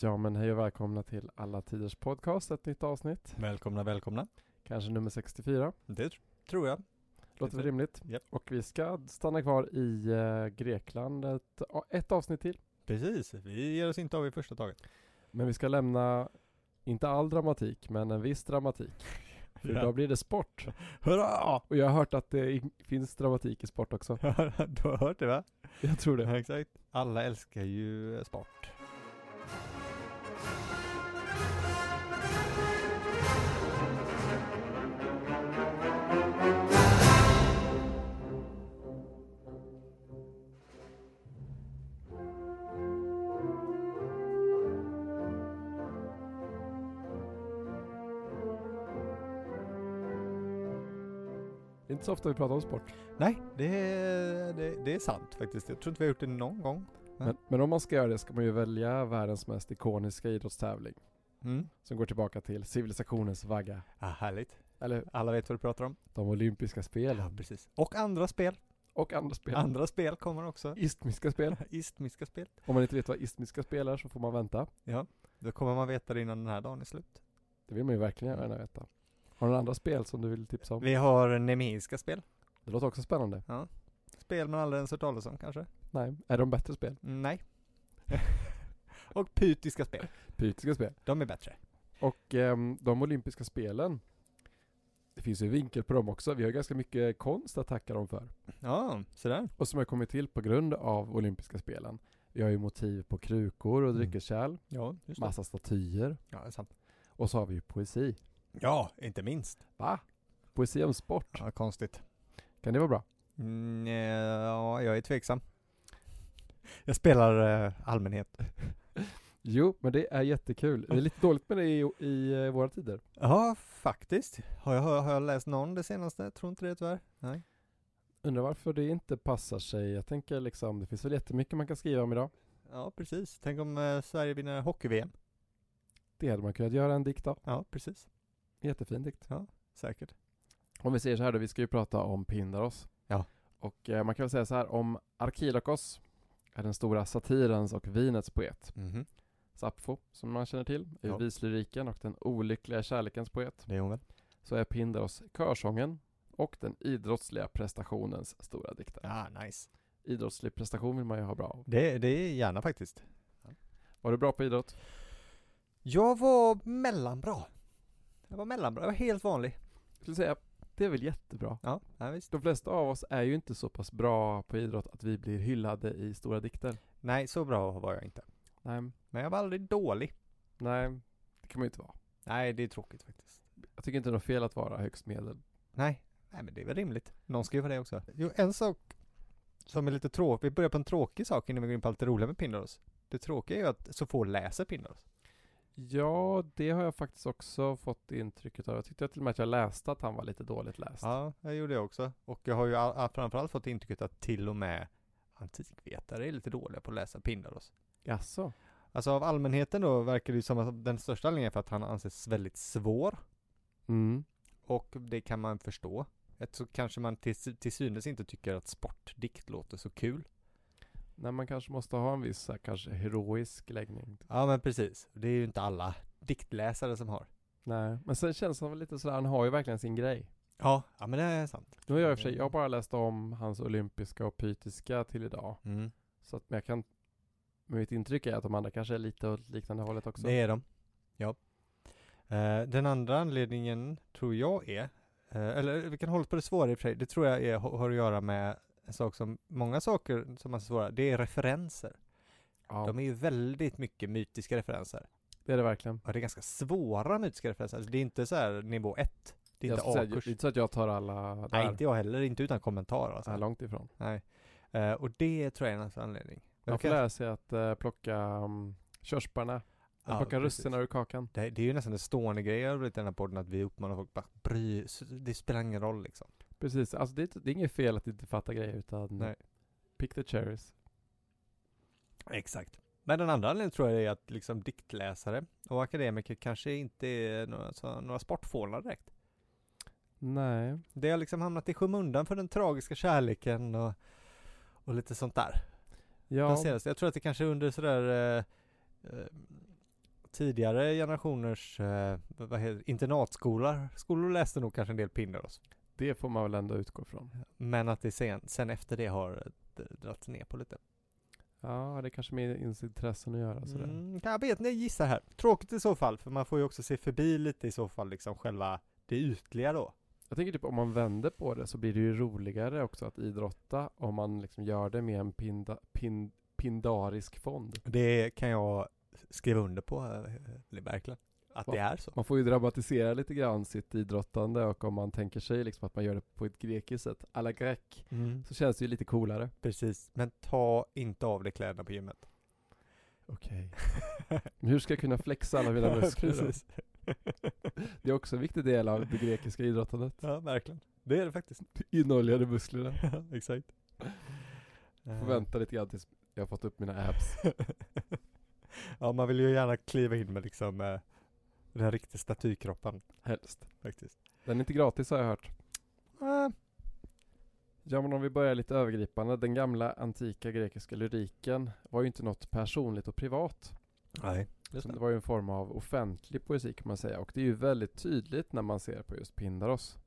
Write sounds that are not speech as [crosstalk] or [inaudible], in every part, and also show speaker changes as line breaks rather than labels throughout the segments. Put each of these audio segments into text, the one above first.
Ja men hej och välkomna till Alla Tiders Podcast, ett nytt avsnitt.
Välkomna, välkomna.
Kanske nummer 64.
Det tr- tror jag.
Låter väl rimligt.
Japp.
Och vi ska stanna kvar i eh, Grekland ett, ja, ett avsnitt till.
Precis, vi ger oss inte av i första taget.
Men vi ska lämna, inte all dramatik, men en viss dramatik. För idag blir det sport.
[laughs] Hurra!
Och jag har hört att det i- finns dramatik i sport också.
du har hört det va?
Jag tror det.
exakt. Alla älskar ju eh, sport.
Det är inte så ofta vi pratar om sport.
Nej, det är, det, det är sant faktiskt. Jag tror inte vi har gjort det någon gång. Ja.
Men, men om man ska göra det ska man ju välja världens mest ikoniska idrottstävling.
Mm.
Som går tillbaka till civilisationens vagga.
Ah, härligt.
Eller
Alla vet vad du pratar om.
de olympiska spelen.
Ja, precis. Och andra spel.
Och andra spel.
Andra spel kommer också. [laughs]
Istmiska spel.
Istmiska spel.
Om man inte vet vad istmiska spel är så får man vänta.
Då kommer man veta det innan den här dagen är slut.
Det vill man ju verkligen gärna veta. Har du några andra spel som du vill tipsa om?
Mm. Vi har nemeiska spel.
Det låter också spännande.
Spel man aldrig ens hört talas om kanske.
Nej, är de bättre spel?
Nej. [laughs] och pytiska spel.
Pytiska spel.
De är bättre.
Och ehm, de olympiska spelen, det finns ju vinkel på dem också. Vi har ju ganska mycket konst att tacka dem för.
Ja, sådär.
Och som har kommit till på grund av olympiska spelen. Vi har ju motiv på krukor och
Mm.
dryckeskärl,
Ja, just det.
massa statyer
Ja, det är sant.
och så har vi ju poesi.
Ja, inte minst.
Va? Poesi om sport,
Ja, konstigt.
kan det vara bra?
Mm, eh, ja, jag är tveksam. Jag spelar eh, allmänhet.
Jo, men det är jättekul. Det är lite dåligt med det i, i eh, våra tider.
Ja, faktiskt. Har jag, har jag läst någon det senaste? Tror inte det tyvärr. Nej.
Undrar varför det inte passar sig. Jag tänker liksom, det finns väl jättemycket man kan skriva om idag.
Ja, precis. Tänk om eh, Sverige vinner hockey-VM.
Det hade man kunnat göra en dikt av.
Ja, precis.
Jättefin dikt.
Säkert.
Om vi säger så här då, vi ska ju prata om Pindaros.
Ja.
Och eh, man kan väl säga så här om Arkidokos är den stora satirens och vinets poet.
Mhm.
Sappho, som man känner till, är
Ja.
vislyriken och den olyckliga kärlekens poet.
Det är hon väl?
Så är Pindaros körsången och den idrottsliga prestationens stora diktare.
Ja, nice.
Idrottslig prestation vill man ju ha bra av.
Det, det är gärna faktiskt.
Var du bra på idrott?
Jag var mellanbra. Jag var mellanbra. Jag var helt vanlig.
Jag skulle säga, det är väl jättebra.
Ja, ja visst.
De flesta av oss är ju inte så pass bra på idrott att vi blir hyllade i stora dikter.
Nej, så bra var jag inte.
Nej,
Men jag var aldrig dålig.
nej, det kan man ju inte vara.
Nej, det är tråkigt faktiskt.
Jag tycker inte det är något fel att vara högst medel.
Nej, nej men det är väl rimligt. Någon ska ju vara det också. Jo, en sak som är lite tråkig, vi börjar på en tråkig sak innan vi går in på allt det roliga med Pindaros. Det tråkiga är ju att så få läser Pindaros.
Ja, det har jag faktiskt också fått intrycket av. Jag tyckte till och med att jag läste att han var lite dåligt läst.
Ja, jag gjorde det också. Och jag har ju all, all, framförallt fått intrycket att till och med antikvetare är lite dåliga på att läsa Pindaros.
Jaså?
Alltså av allmänheten då verkar det ju som att den största anledningen är för att han anses väldigt svår.
Mm.
Och det kan man förstå. Ett Så kanske man till, till synes inte tycker att sportdikt låter så kul.
Nej, man kanske måste ha en viss så här, kanske heroisk läggning.
Ja men precis, det är ju inte alla diktläsare som har.
Nej, men sen känns han väl lite sådär, han har ju verkligen sin grej.
Ja, ja men det är sant.
Nu har jag i och för sig, jag har bara läst om hans olympiska och pytiska till idag.
Mm.
Så att, men jag kan, men mitt intryck är att de andra kanske är lite åt liknande hållet också.
Det är de. Ja. Eh, den andra anledningen tror jag är, eh, eller vi kan hålla på det svåra i och för sig, det tror jag är, har att göra med en sak som, många saker som man ser svåra, det är referenser.
ja,
De är ju väldigt mycket mytiska referenser.
det är det verkligen.
Ja, det är ganska svåra mytiska referenser, alltså, det är inte så här nivå ett. Det är
jag
inte
skulle säga, det
A-kurs.
är inte så att jag tar alla där.
Nej, inte jag heller. Inte utan kommentar alltså.
Nej, långt ifrån.
Nej. Eh, och det tror jag är en annan anledning.
Man
Jag
får
kan-
lära sig att eh, plocka um, körsbärna,
Ja,
att plocka
precis.
russinen ur kakan.
Det, det är ju nästan en stående grej över den här podden, att vi uppmanar folk bara bry det spelar ingen roll liksom.
Precis, alltså det är, inte- det är inget fel att inte fatta grejer utan
Nej.
pick the cherries.
Exakt. Men den andra anledningen tror jag är att liksom diktläsare och akademiker kanske inte är några, så, några sportfånar direkt.
Nej,
Det har liksom hamnat i skymundan för den tragiska kärleken och, och lite sånt där.
ja,
Den senaste. Jag tror att det kanske under sådär eh, eh, tidigare generationers eh, vad heter, det, internatskolor skolor läste nog kanske en del Pindaros.
Det får man väl ändå utgå från.
Men att det sen, sen efter det har eh, dr- dragits ner på lite.
Ja, det kanske med ens intressen att göra sådär.
Mm, jag vet inte, jag gissar här. Tråkigt i så fall, för man får ju också se förbi lite i så fall liksom själva det ytliga då.
Jag tänker typ om man vänder på det så blir det ju roligare också att idrotta om man liksom gör det med en pinda, pin, pindarisk fond.
Det kan jag skriva under på, eh, verkligen. Att det
Ja.
är så.
Man får ju dramatisera lite grann sitt idrottande och om man tänker sig liksom att man gör det på ett grekiskt sätt, alla grek, så känns det ju lite coolare.
Precis, men ta inte av dig kläderna på gymmet.
Okej. Men hur ska jag kunna flexa alla [laughs]
[laughs]
mina muskler då?
Precis.
Det är också en viktig del av det grekiska idrottandet.
Ja, verkligen. Det är det faktiskt. [laughs]
Inoljade musklerna.
Ja, Exakt.
Får
Eh,
vänta lite grann tills jag har fått upp mina abs.
[laughs] ja, man vill ju gärna kliva in med liksom eh, den riktiga statykroppen
Helst.
faktiskt.
Den är inte gratis har jag hört.
Eh,
Ja men om vi börjar lite övergripande. Den gamla antika grekiska lyriken var ju inte något personligt och privat.
nej. Just
Så det
det.
var ju en form av offentlig poesi kan man säga. Och det är ju väldigt tydligt när man ser på just Pindaros.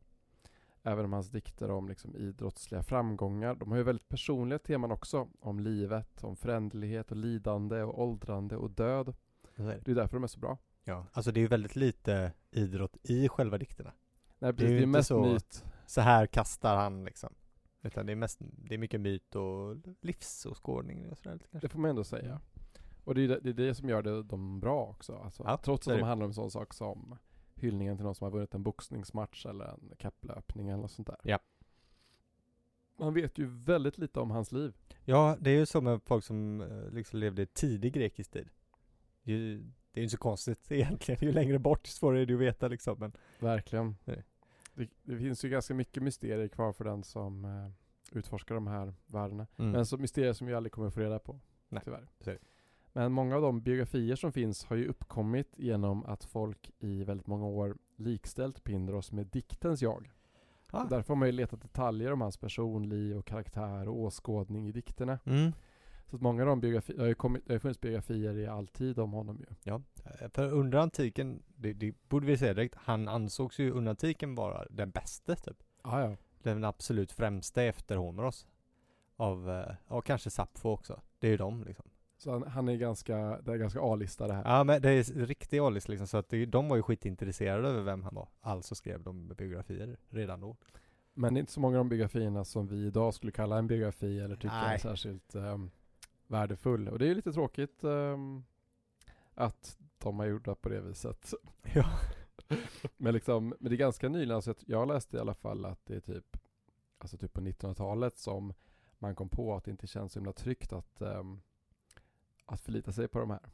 Även om hans dikter om liksom idrottsliga framgångar. De har ju väldigt personliga teman också. Om livet, om föränderlighet och lidande och åldrande och död.
Så är det.
Det är därför de är så bra.
Ja, alltså det är ju väldigt lite idrott i själva dikterna.
Nej
ju
precis, det är ju
inte
mest
så-
myt.
Så här kastar han liksom. Utan det är, mest, det är mycket myt och livsåskådning och sådär lite kanske.
Det får man ändå säga.
Mm.
Och det är det, det är det som gör det, dem bra också. Alltså,
Ja,
trots
det
att
är
de
det.
handlar om sån sak som hyllningen till någon som har vunnit en boxningsmatch eller en kapplöpning eller något sånt där.
Ja.
Man vet ju väldigt lite om hans liv.
Ja, det är ju så med folk som eh, liksom levde i tidig grekisk tid. Ju, det är ju inte så konstigt [laughs] egentligen, ju längre bort ju svårare är det att veta liksom. Men
Verkligen.
Det är det.
Det, det finns ju ganska mycket mysterier kvar för den som eh, utforskar de här värdena.
Mm.
Men så mysterier som vi aldrig kommer få reda på.
Nej,
Tyvärr.
så är det.
Men många av de biografier som finns har ju uppkommit genom att folk i väldigt många år likställt Pindros med diktens jag.
Ah.
Så Därför har man ju letat detaljer om hans personliv och karaktär och åskådning i dikterna.
Mm.
Så att många av de biografier, det har ju kommit, det har ju funnits biografier i all tid om honom ju.
Ja, eh, för under antiken, det, det borde vi säga direkt, han ansågs ju under antiken vara den bästa typ.
Ah, ja.
Den absolut främsta efter Homeros. Av, eh, ja kanske Sappho också. Det är ju de liksom.
Så han, han är ganska, det är ganska A-lista det här.
Ja men det är s- riktig Alice liksom, så att det, de var ju skitintresserade över vem han var. Alltså skrev de biografier redan då.
Men det är inte så många av de biografierna som vi idag skulle kalla en biografi eller tycka är
Nej.
särskilt ehm, värdefull. Och det är ju lite tråkigt ehm, att de har gjort det på det viset.
[laughs] Ja.
men, liksom, men det är ganska nyligen, alltså jag- jag läste i alla fall att det är typ, alltså typ på 1900-talet som man kom på att det inte känns så himla tryggt att, ehm, att förlita sig på de här.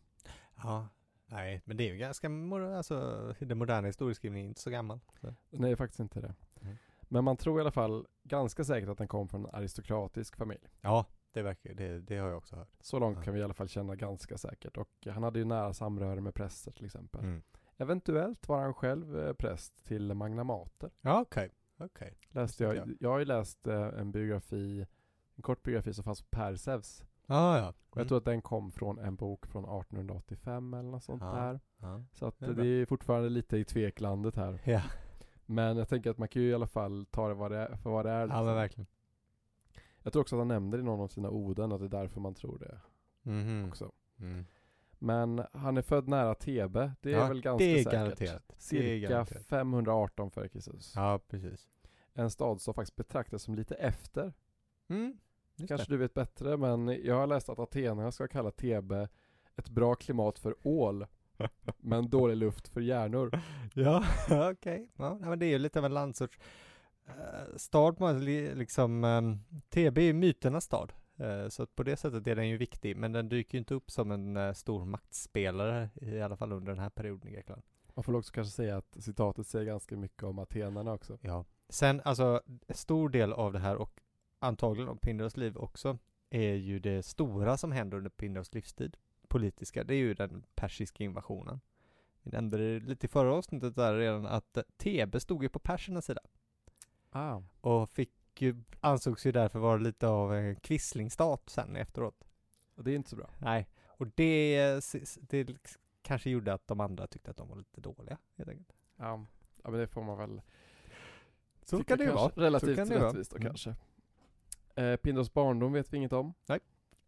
Ja, nej, men det är ju ganska, mor- alltså den moderna historieskrivningen är inte så gammal. Så.
Nej, faktiskt inte det.
Nej.
Men man tror i alla fall ganska säkert att den kom från en aristokratisk familj.
Ja, det verkar det, det har jag också hört.
Så långt
Ja.
kan vi i alla fall känna ganska säkert. Och han hade ju nära samröre med präster till exempel.
Mm.
Eventuellt var han själv eh, präst till magnamater.
Ja, okej, okej.
Läste
Just
jag,
det,
jag har ju läst eh, en biografi, en kort biografi som fanns på Perseus.
Ja, ja.
Och jag tror att den kom från en bok från 1885 eller något sånt
Ja.
där.
ja.
Så att
Det
eh,
är
det,
bra.
är fortfarande lite i tveklandet här.
Ja.
Men jag tänker att man kan ju i alla fall ta det, vad det är, för vad det är.
ja,
liksom.
men verkligen.
jag tror också att han nämnde det i någon av sina orden, att det är därför man tror det
Mhm.
också.
Mm.
Men han är född nära Thebe, det är
Ja,
väl ganska
det är
säkert.
garanterat. Det är
Cirka
garanterat.
518 före Kristus.
Ja, precis.
En stad som faktiskt betraktas som lite efter.
Mm. Just
Kanske du vet bättre, men jag har läst att atenarna ska kalla Thebe ett bra klimat för
[laughs]
ål, men dålig luft för hjärnor.
det. Ja, [laughs] okej. Ja, nej, men det är ju lite av en landsorts eh, stad, på en li- liksom. Um, TB är myternas stad. Eh, Så att på det sättet är den ju viktig, men den dyker ju inte upp som en eh, stor maktspelare i alla fall under den här perioden i Grekland.
Man får också kanske säga att citatet säger ganska mycket om atenarna också.
Ja. Sen, alltså, en stor del av det här och antagligen om Pindaros liv också är ju det stora som händer under Pindaros livstid, politiska, det är ju den persiska invasionen. Vi nämnde det lite i förra avsnittet där redan att eh, Thebe stod ju på persernas sida
Ah.
och fick ju, ansågs ju därför vara lite av en quislingstat sen efteråt.
Det är inte så bra.
Nej, och det, det kanske gjorde att de andra tyckte att de var lite dåliga helt enkelt.
Ja, ja men det får man väl
Så
tycka
kan det ju
kanske.
vara.
Relativt
Så kan det ju
rättvist då
vara. Mm.
kanske. Eh, Pindos barndom vet vi inget om.
Nej.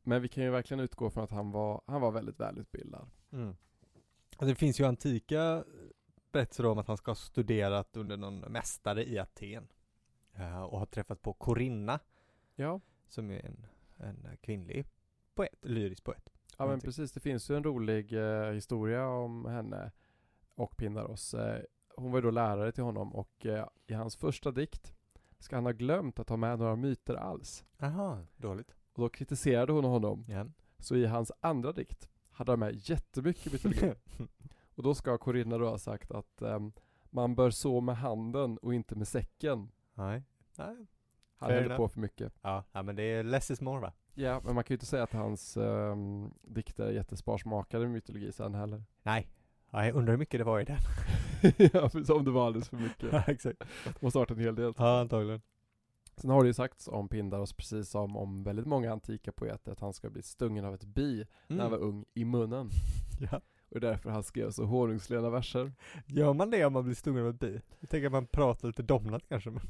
Men vi kan ju verkligen utgå från att han var, han var väldigt välutbildad.
Mm. Och det finns ju antika eh, berättelser om att han ska ha studerat under någon mästare i Aten. Ja, och har träffat på Korinna,
Ja,
som är en, en kvinnlig poet, lyrisk poet.
ja men
Någonting.
precis. Det finns ju en rolig eh, historia om henne och Pindaros. Eh, hon var ju då lärare till honom och eh, i hans första dikt ska han ha glömt att ha med några myter alls.
Aha, dåligt.
Och då kritiserade hon honom.
Ja.
Så i hans andra dikt hade han med jättemycket mytologi. [laughs] Och då ska Corinna då ha sagt att ehm, man bör så med handen och inte med säcken.
[laughs] Nej. Nej.
Han
Fair
hällde
enough.
på för mycket.
Ja, ja, men det är less is more va?
Ja, men man kan ju inte säga att hans um, dikter är jättesparsmakade med mytologi sen heller.
Nej. Ja, jag undrar hur mycket det var i [laughs] den.
[laughs] ja, precis, om det var alldeles för mycket.
exakt.
Måste ha varit en hel del.
Ja, antagligen.
Sen har det ju sagts om Pindaros, precis som om väldigt många antika poeter, att han ska bli stungen av ett bi
Mm.
när han var ung i munnen.
[laughs] Ja.
Och därför han skrev så honungslena verser. [laughs]
Gör man det om man blir stungen av ett bi? Jag tänker att man pratar lite domnat kanske. Men...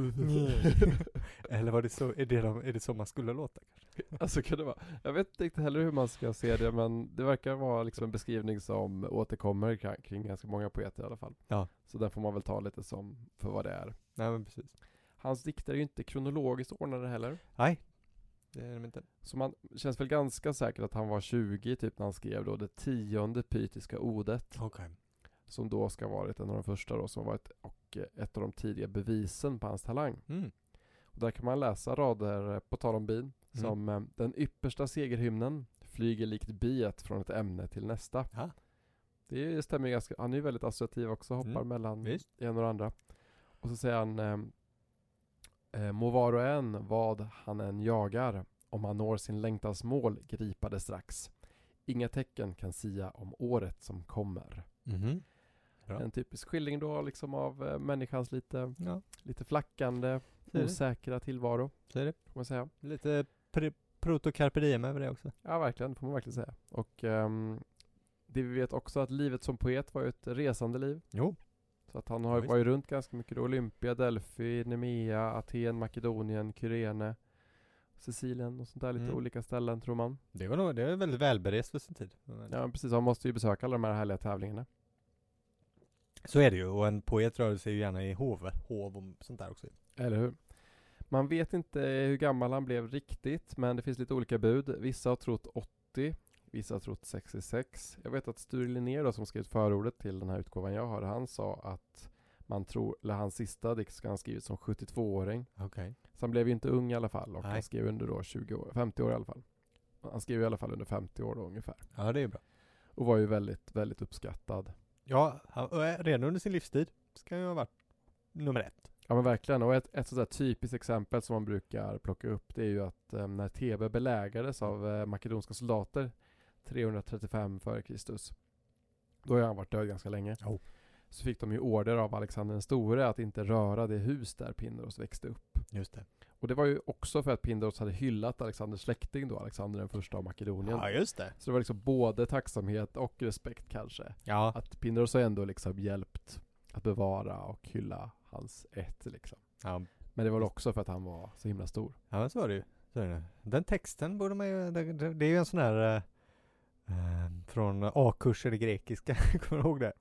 Mm. [laughs] Eller var det så, är det, de, är det så man skulle låta?
Alltså kan det vara. Jag vet inte riktigt heller hur man ska se det men det verkar vara liksom en beskrivning som återkommer kra- kring ganska många poeter i alla fall.
Ja.
Så den får man väl ta lite som för vad det är.
Nej men precis.
Hans dikter är ju inte kronologiskt ordnade heller.
Nej. Det är de inte.
Så man känns väl ganska säkert att han var 20 typ när han skrev då det tionde pytiska odet.
Okej.
Som då ska ha varit en av de första då som har varit och eh, ett av de tidiga bevisen på hans talang.
Mm.
Och där kan man läsa rader eh, på tal om bin
Mm.
som eh, den yppersta segerhymnen flyger likt biet från ett ämne till nästa.
Ja.
Det stämmer ju ganska, han är ju väldigt associativ också, hoppar
Mm,
mellan
visst.
en och det andra. Och så säger han eh, eh, Må var och en vad han än jagar, om han når sin längtans mål gripa det strax. Inga tecken kan sia om året som kommer.
Mhm. Bra.
En typisk skildring då liksom av eh, människans lite,
Ja,
lite flackande,
det är det.
osäkra tillvaro,
så är det.
får man säga.
Lite pr- protocarpe diem över det också.
Ja, verkligen. Det får man verkligen säga. Och ehm, det vi vet också att livet som poet var ju ett resande liv.
Jo.
Så att han har,
Ja, visst.
var ju runt ganska mycket då. Olympia, Delphi, Nemea, Aten, Makedonien, Kyrene, Sicilien och sånt där. Lite
Mm.
olika ställen tror man.
Det var nog, det var väldigt välberest för sin tid. Men-
Ja, men precis. Han måste ju besöka alla de här härliga tävlingarna.
Så är det ju, och en poet rör sig ju gärna i hov, hov och sånt där också.
Eller hur? Man vet inte hur gammal han blev riktigt, men det finns lite olika bud. Vissa har trott 80, vissa har trott 66. Jag vet att Sture Linnér då, som skrivit förordet till den här utgåvan jag har, han sa att man tror, eller hans sista dikt ska han skrivit som 72-åring.
Okej.
Så han blev ju inte ung i alla fall och
Nej.
han skrev under då 20 år, 50 år i alla fall. Han skrev i alla fall under 50 år då ungefär.
Ja, det är bra.
Och var ju väldigt, väldigt uppskattad.
Ja, han, och är- redan under sin livstid ska han ju ha varit nummer ett.
Ja men verkligen, och ett, ett sådär typiskt exempel som man brukar plocka upp det är ju att eh, när Thebe belägrades av eh, makedonska soldater 335 före Kristus, då har han varit död ganska länge,
Jo.
så fick de ju order av Alexander den store att inte röra det hus där Pindaros växte upp.
Just det.
Och det var ju också för att Pindaros hade hyllat Alexanders släkting då, Alexander den första av Makedonien.
Ja, just det.
Så det var liksom både tacksamhet och respekt kanske.
Ja,
Att Pindaros har ändå liksom hjälpt att bevara och hylla hans ett liksom.
ja,
Men det var väl också för att han var så himla stor.
ja men så är det ju. Så är det. Den texten borde man ju, det, det det är ju en sån här eh, eh, från A-kurser i grekiska, [laughs] kommer du ihåg det?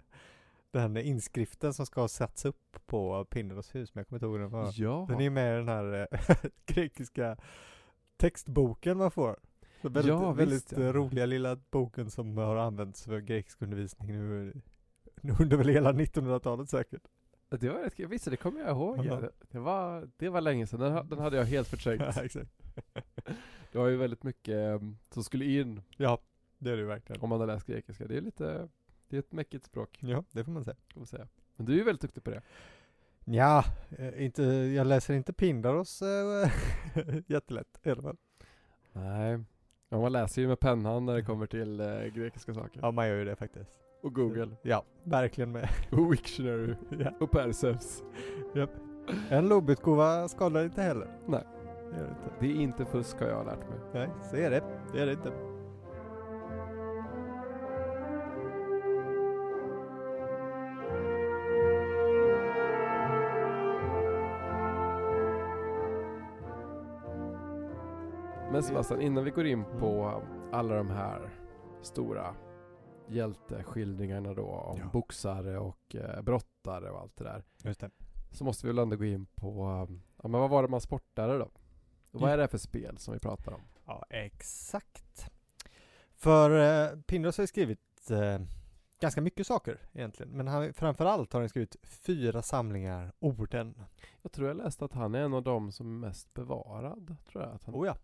Den inskriften som ska sättas upp på Pindaros hus, men jag kommer inte ihåg den. vad-
Ja,
Den är med i den här eh, [laughs] grekiska textboken man får. Så väldigt
Ja, visst,
väldigt
ja.
eh, roliga lilla boken som har använts för grekisk undervisning nu, nu [laughs] under väl hela 1900-talet säkert.
det var rätt kul. Visst, det kommer jag ihåg.
Ja.
Det, det, var, det var länge sedan. Den, ha- den hade jag helt förträngt.
[laughs] Ja, exakt.
Det var ju väldigt mycket ehm, som skulle in
Ja, Mm. det är det ju verkligen.
om man hade läst grekiska. Det är lite, det är ett mäckigt språk,
Ja, det får man säga.
kan man säga. Men du är ju väldigt duktig på det.
Ja, eh, inte, jag läser inte Pindaros eh, [laughs] jättelätt i alla fall.
Nej. Ja, man läser ju med pennan när det kommer till eh, grekiska saker.
Ja, man gör ju det faktiskt.
Och Google.
Ja, verkligen med. [laughs]
Och Wiktionary.
ja.
Och Perseus.
En lobbutgåva skadar inte heller.
Nej.
Det gör det inte.
Det är inte fusk har jag lärt mig.
Nej, så är det. Det är det inte. Mm.
Men Sebastian, innan vi går in på alla de här stora hjälteskildringarna då om
Ja.
boxare och eh, brottare och allt det där.
Just det.
Så måste vi väl ändå gå in på, eh, ja men vad var det man sportade då? Och vad är det här för spel som vi pratar om?
Ja, exakt. För eh, Pindros har ju skrivit eh, ganska mycket saker egentligen, men han, framförallt har han skrivit fyra samlingar orden.
Jag tror jag läste att han är en av de som är mest bevarad, tror jag. Att han,
Oh ja.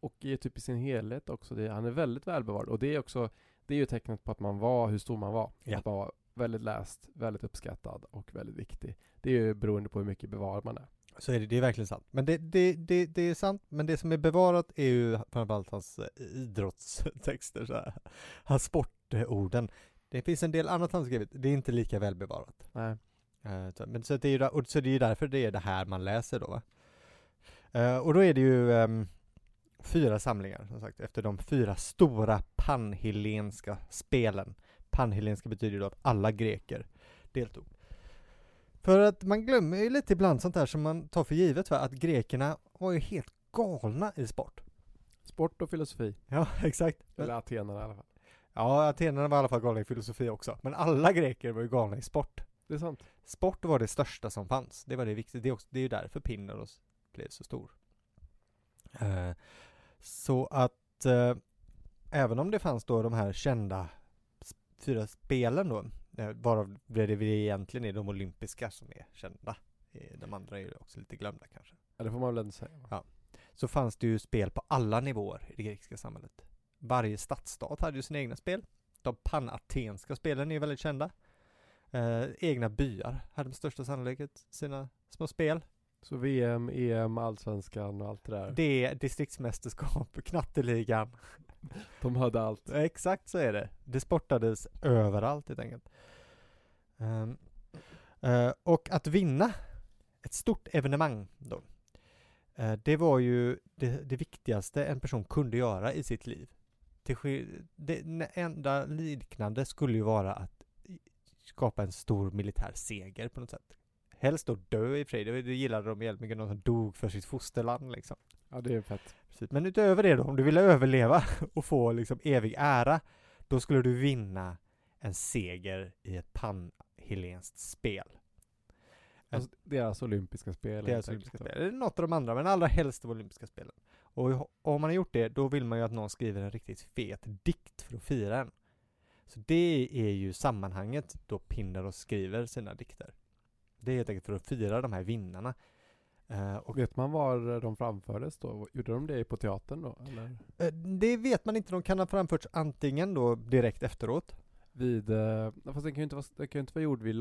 och är typ i sin helhet också, det, han är väldigt välbevarad. Och det är också, det är ju tecknet på att man var, hur stor man var.
Ja.
Att man var väldigt läst, väldigt uppskattad och väldigt viktig. Det är ju beroende på hur mycket bevarad man är.
Så är det, det är verkligen sant. Men det, det, det, det är sant, men det som är bevarat är ju framförallt hans eh, idrottstexter, så här. hans sportorden. Det finns en del annat han skrivit, det är inte lika välbevarat.
Nej.
Eh, så- Men så, att det är ju, da- och så det är ju därför det är det här man läser då va? Eh, Och då är det ju ehm, fyra samlingar som sagt efter de fyra stora panhellenska spelen. Panhellenska betyder ju då att alla greker deltog. För att man glömmer ju lite ibland sånt där som man tar för givet va, att grekerna var ju helt galna i sport. [laughs]
Sport och filosofi.
Ja, exakt. Men-
Eller atenarna i alla fall.
Ja, atenarna var i alla fall galna i filosofi också, men alla greker var ju galna i sport.
Det är sant.
Sport var det största som fanns. Det var det viktiga. Det är, också, det är ju därför Pindaros blev så stor. Eh, så att eh, även om det fanns då de här kända s- fyra spelen då, eh, varav det det egentligen är de olympiska som är kända. Eh, De andra är ju också lite glömda kanske.
Ja, det får man väl ändå säga. va?
Så fanns det ju spel på alla nivåer i det grekiska samhället. Varje stadsstat hade ju sina egna spel. De panatenska spelen är ju väldigt kända. Eh, egna byar hade med största sannolikhet sina små spel.
Så VM, EM, Allsvenskan och allt det där.
Det är distriktsmästerskap, [laughs] knatteligan.
De hade allt.
Exakt så är det. Det sportades överallt helt enkelt. Ehm, eh, och att vinna ett stort evenemang då, eh, det var ju det, det viktigaste en person kunde göra i sitt liv. Till skill- det n- enda liknande skulle ju vara att i- skapa en stor militär seger på något sätt. Helst då dö i fred, det det gillade de jävligt mycket, någon som dog för sitt fosterland liksom.
Ja, det är fett.
Precis. Men utöver det då, om du ville överleva [laughs] och få liksom evig ära, då skulle du vinna en seger i ett panhellenskt spel.
Alltså, deras olympiska spel.
Det är
helt
alltså olympiska
enkelt.
spel. Eller något av de andra, men allra helst de olympiska spelen. Och i- om man har gjort det, då vill man ju att någon skriver en riktigt fet dikt för att fira en. Så det är ju sammanhanget då Pindaros skriver sina dikter. Det är helt enkelt för att fira de här vinnarna. Eh, och
Och vet man var de framfördes då? Gjorde de det på teatern då? Eller?
eh, det vet man inte, de kan ha framförts antingen då direkt efteråt,
Vid, eh, fast den kan ju inte vara, den kan ju inte vara gjord vid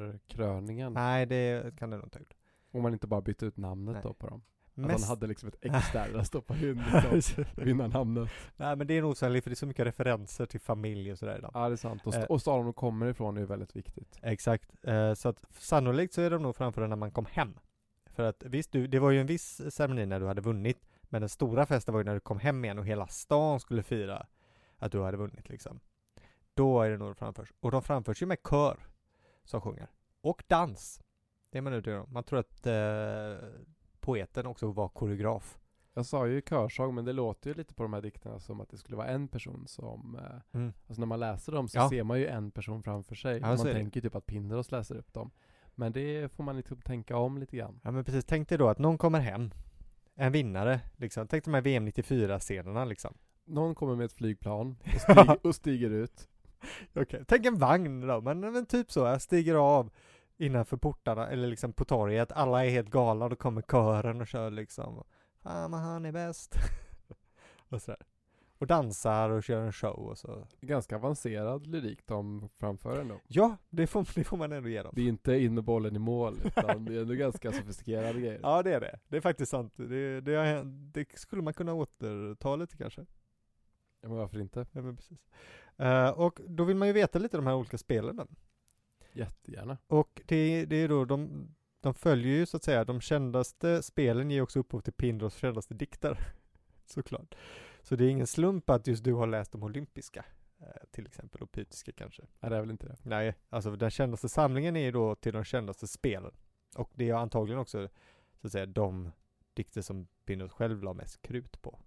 lagerkröningen.
Nej, det kan det nog inte ha gjort.
Om man inte bara bytte ut namnet
Nej.
då på dem. Att
Mest-
han hade liksom [laughs] ett X där, där stoppade
[laughs]
in liksom, vinnarnamnet.
Nej men det är nog så här, för det är så mycket referenser till familj och sådär. Ja.
Ja det är sant. Och, st-
Eh.
och staden de kommer ifrån är ju väldigt viktigt.
Exakt, Eh, så att sannolikt så är de nog framför när man kom hem. För att visst, du, det var ju en viss ceremoni när du hade vunnit, men den stora festen var ju när du kom hem igen och hela stan skulle fira att du hade vunnit liksom. Då är det nog de framförs. Och de framförs ju med kör som sjunger. Och dans. Det är man övertygad om. Man tror att eh, poeten också var koreograf.
Jag sa ju körsång men det låter ju lite på de här dikterna som att det skulle vara en person som, eh,
Mm.
alltså när man läser dem så
Ja.
ser man ju en person framför sig.
Ja,
man
så är det.
tänker ju typ att Pindaros läser upp dem. Men det får man liksom tänka om lite grann.
Ja men precis, tänk dig då att någon kommer hem, en vinnare, liksom. tänk de här VM 94-scenerna liksom.
Någon kommer med ett flygplan och stiger, och stiger ut.
Okej. Tänk en vagn då, men, men typ så, jag stiger av innanför portarna, eller liksom på torget, alla är helt galna och då kommer kören och kör liksom, fan vad han är bäst. [laughs] och sådär. Och dansar och kör en show och så.
Ganska avancerad lyrik de framför ändå.
Ja, det får, [laughs] det får man ändå ge dem.
Det är inte in med bollen i mål, utan det är ändå ganska sofistikerade grejer.
Ja det är det, det är faktiskt sant. Det, det, har hänt- det skulle man kunna återta lite kanske.
Ja, men varför inte?
Ja, men precis. Eh, och då vill man ju veta lite om de här olika spelen. då.
Jättegärna.
Och det, det är då de, de följer ju så att säga, de kändaste spelen ger också upphov till Pindros kändaste dikter. [laughs] Såklart. Så det är ingen slump att just du har läst de olympiska, eh, till exempel, och pytiska kanske.
Nej, det är väl inte det.
Nej, alltså den kändaste samlingen är ju då till de kändaste spelen. Och det är antagligen också, så att säga, de dikter som Pindros själv la mest krut på.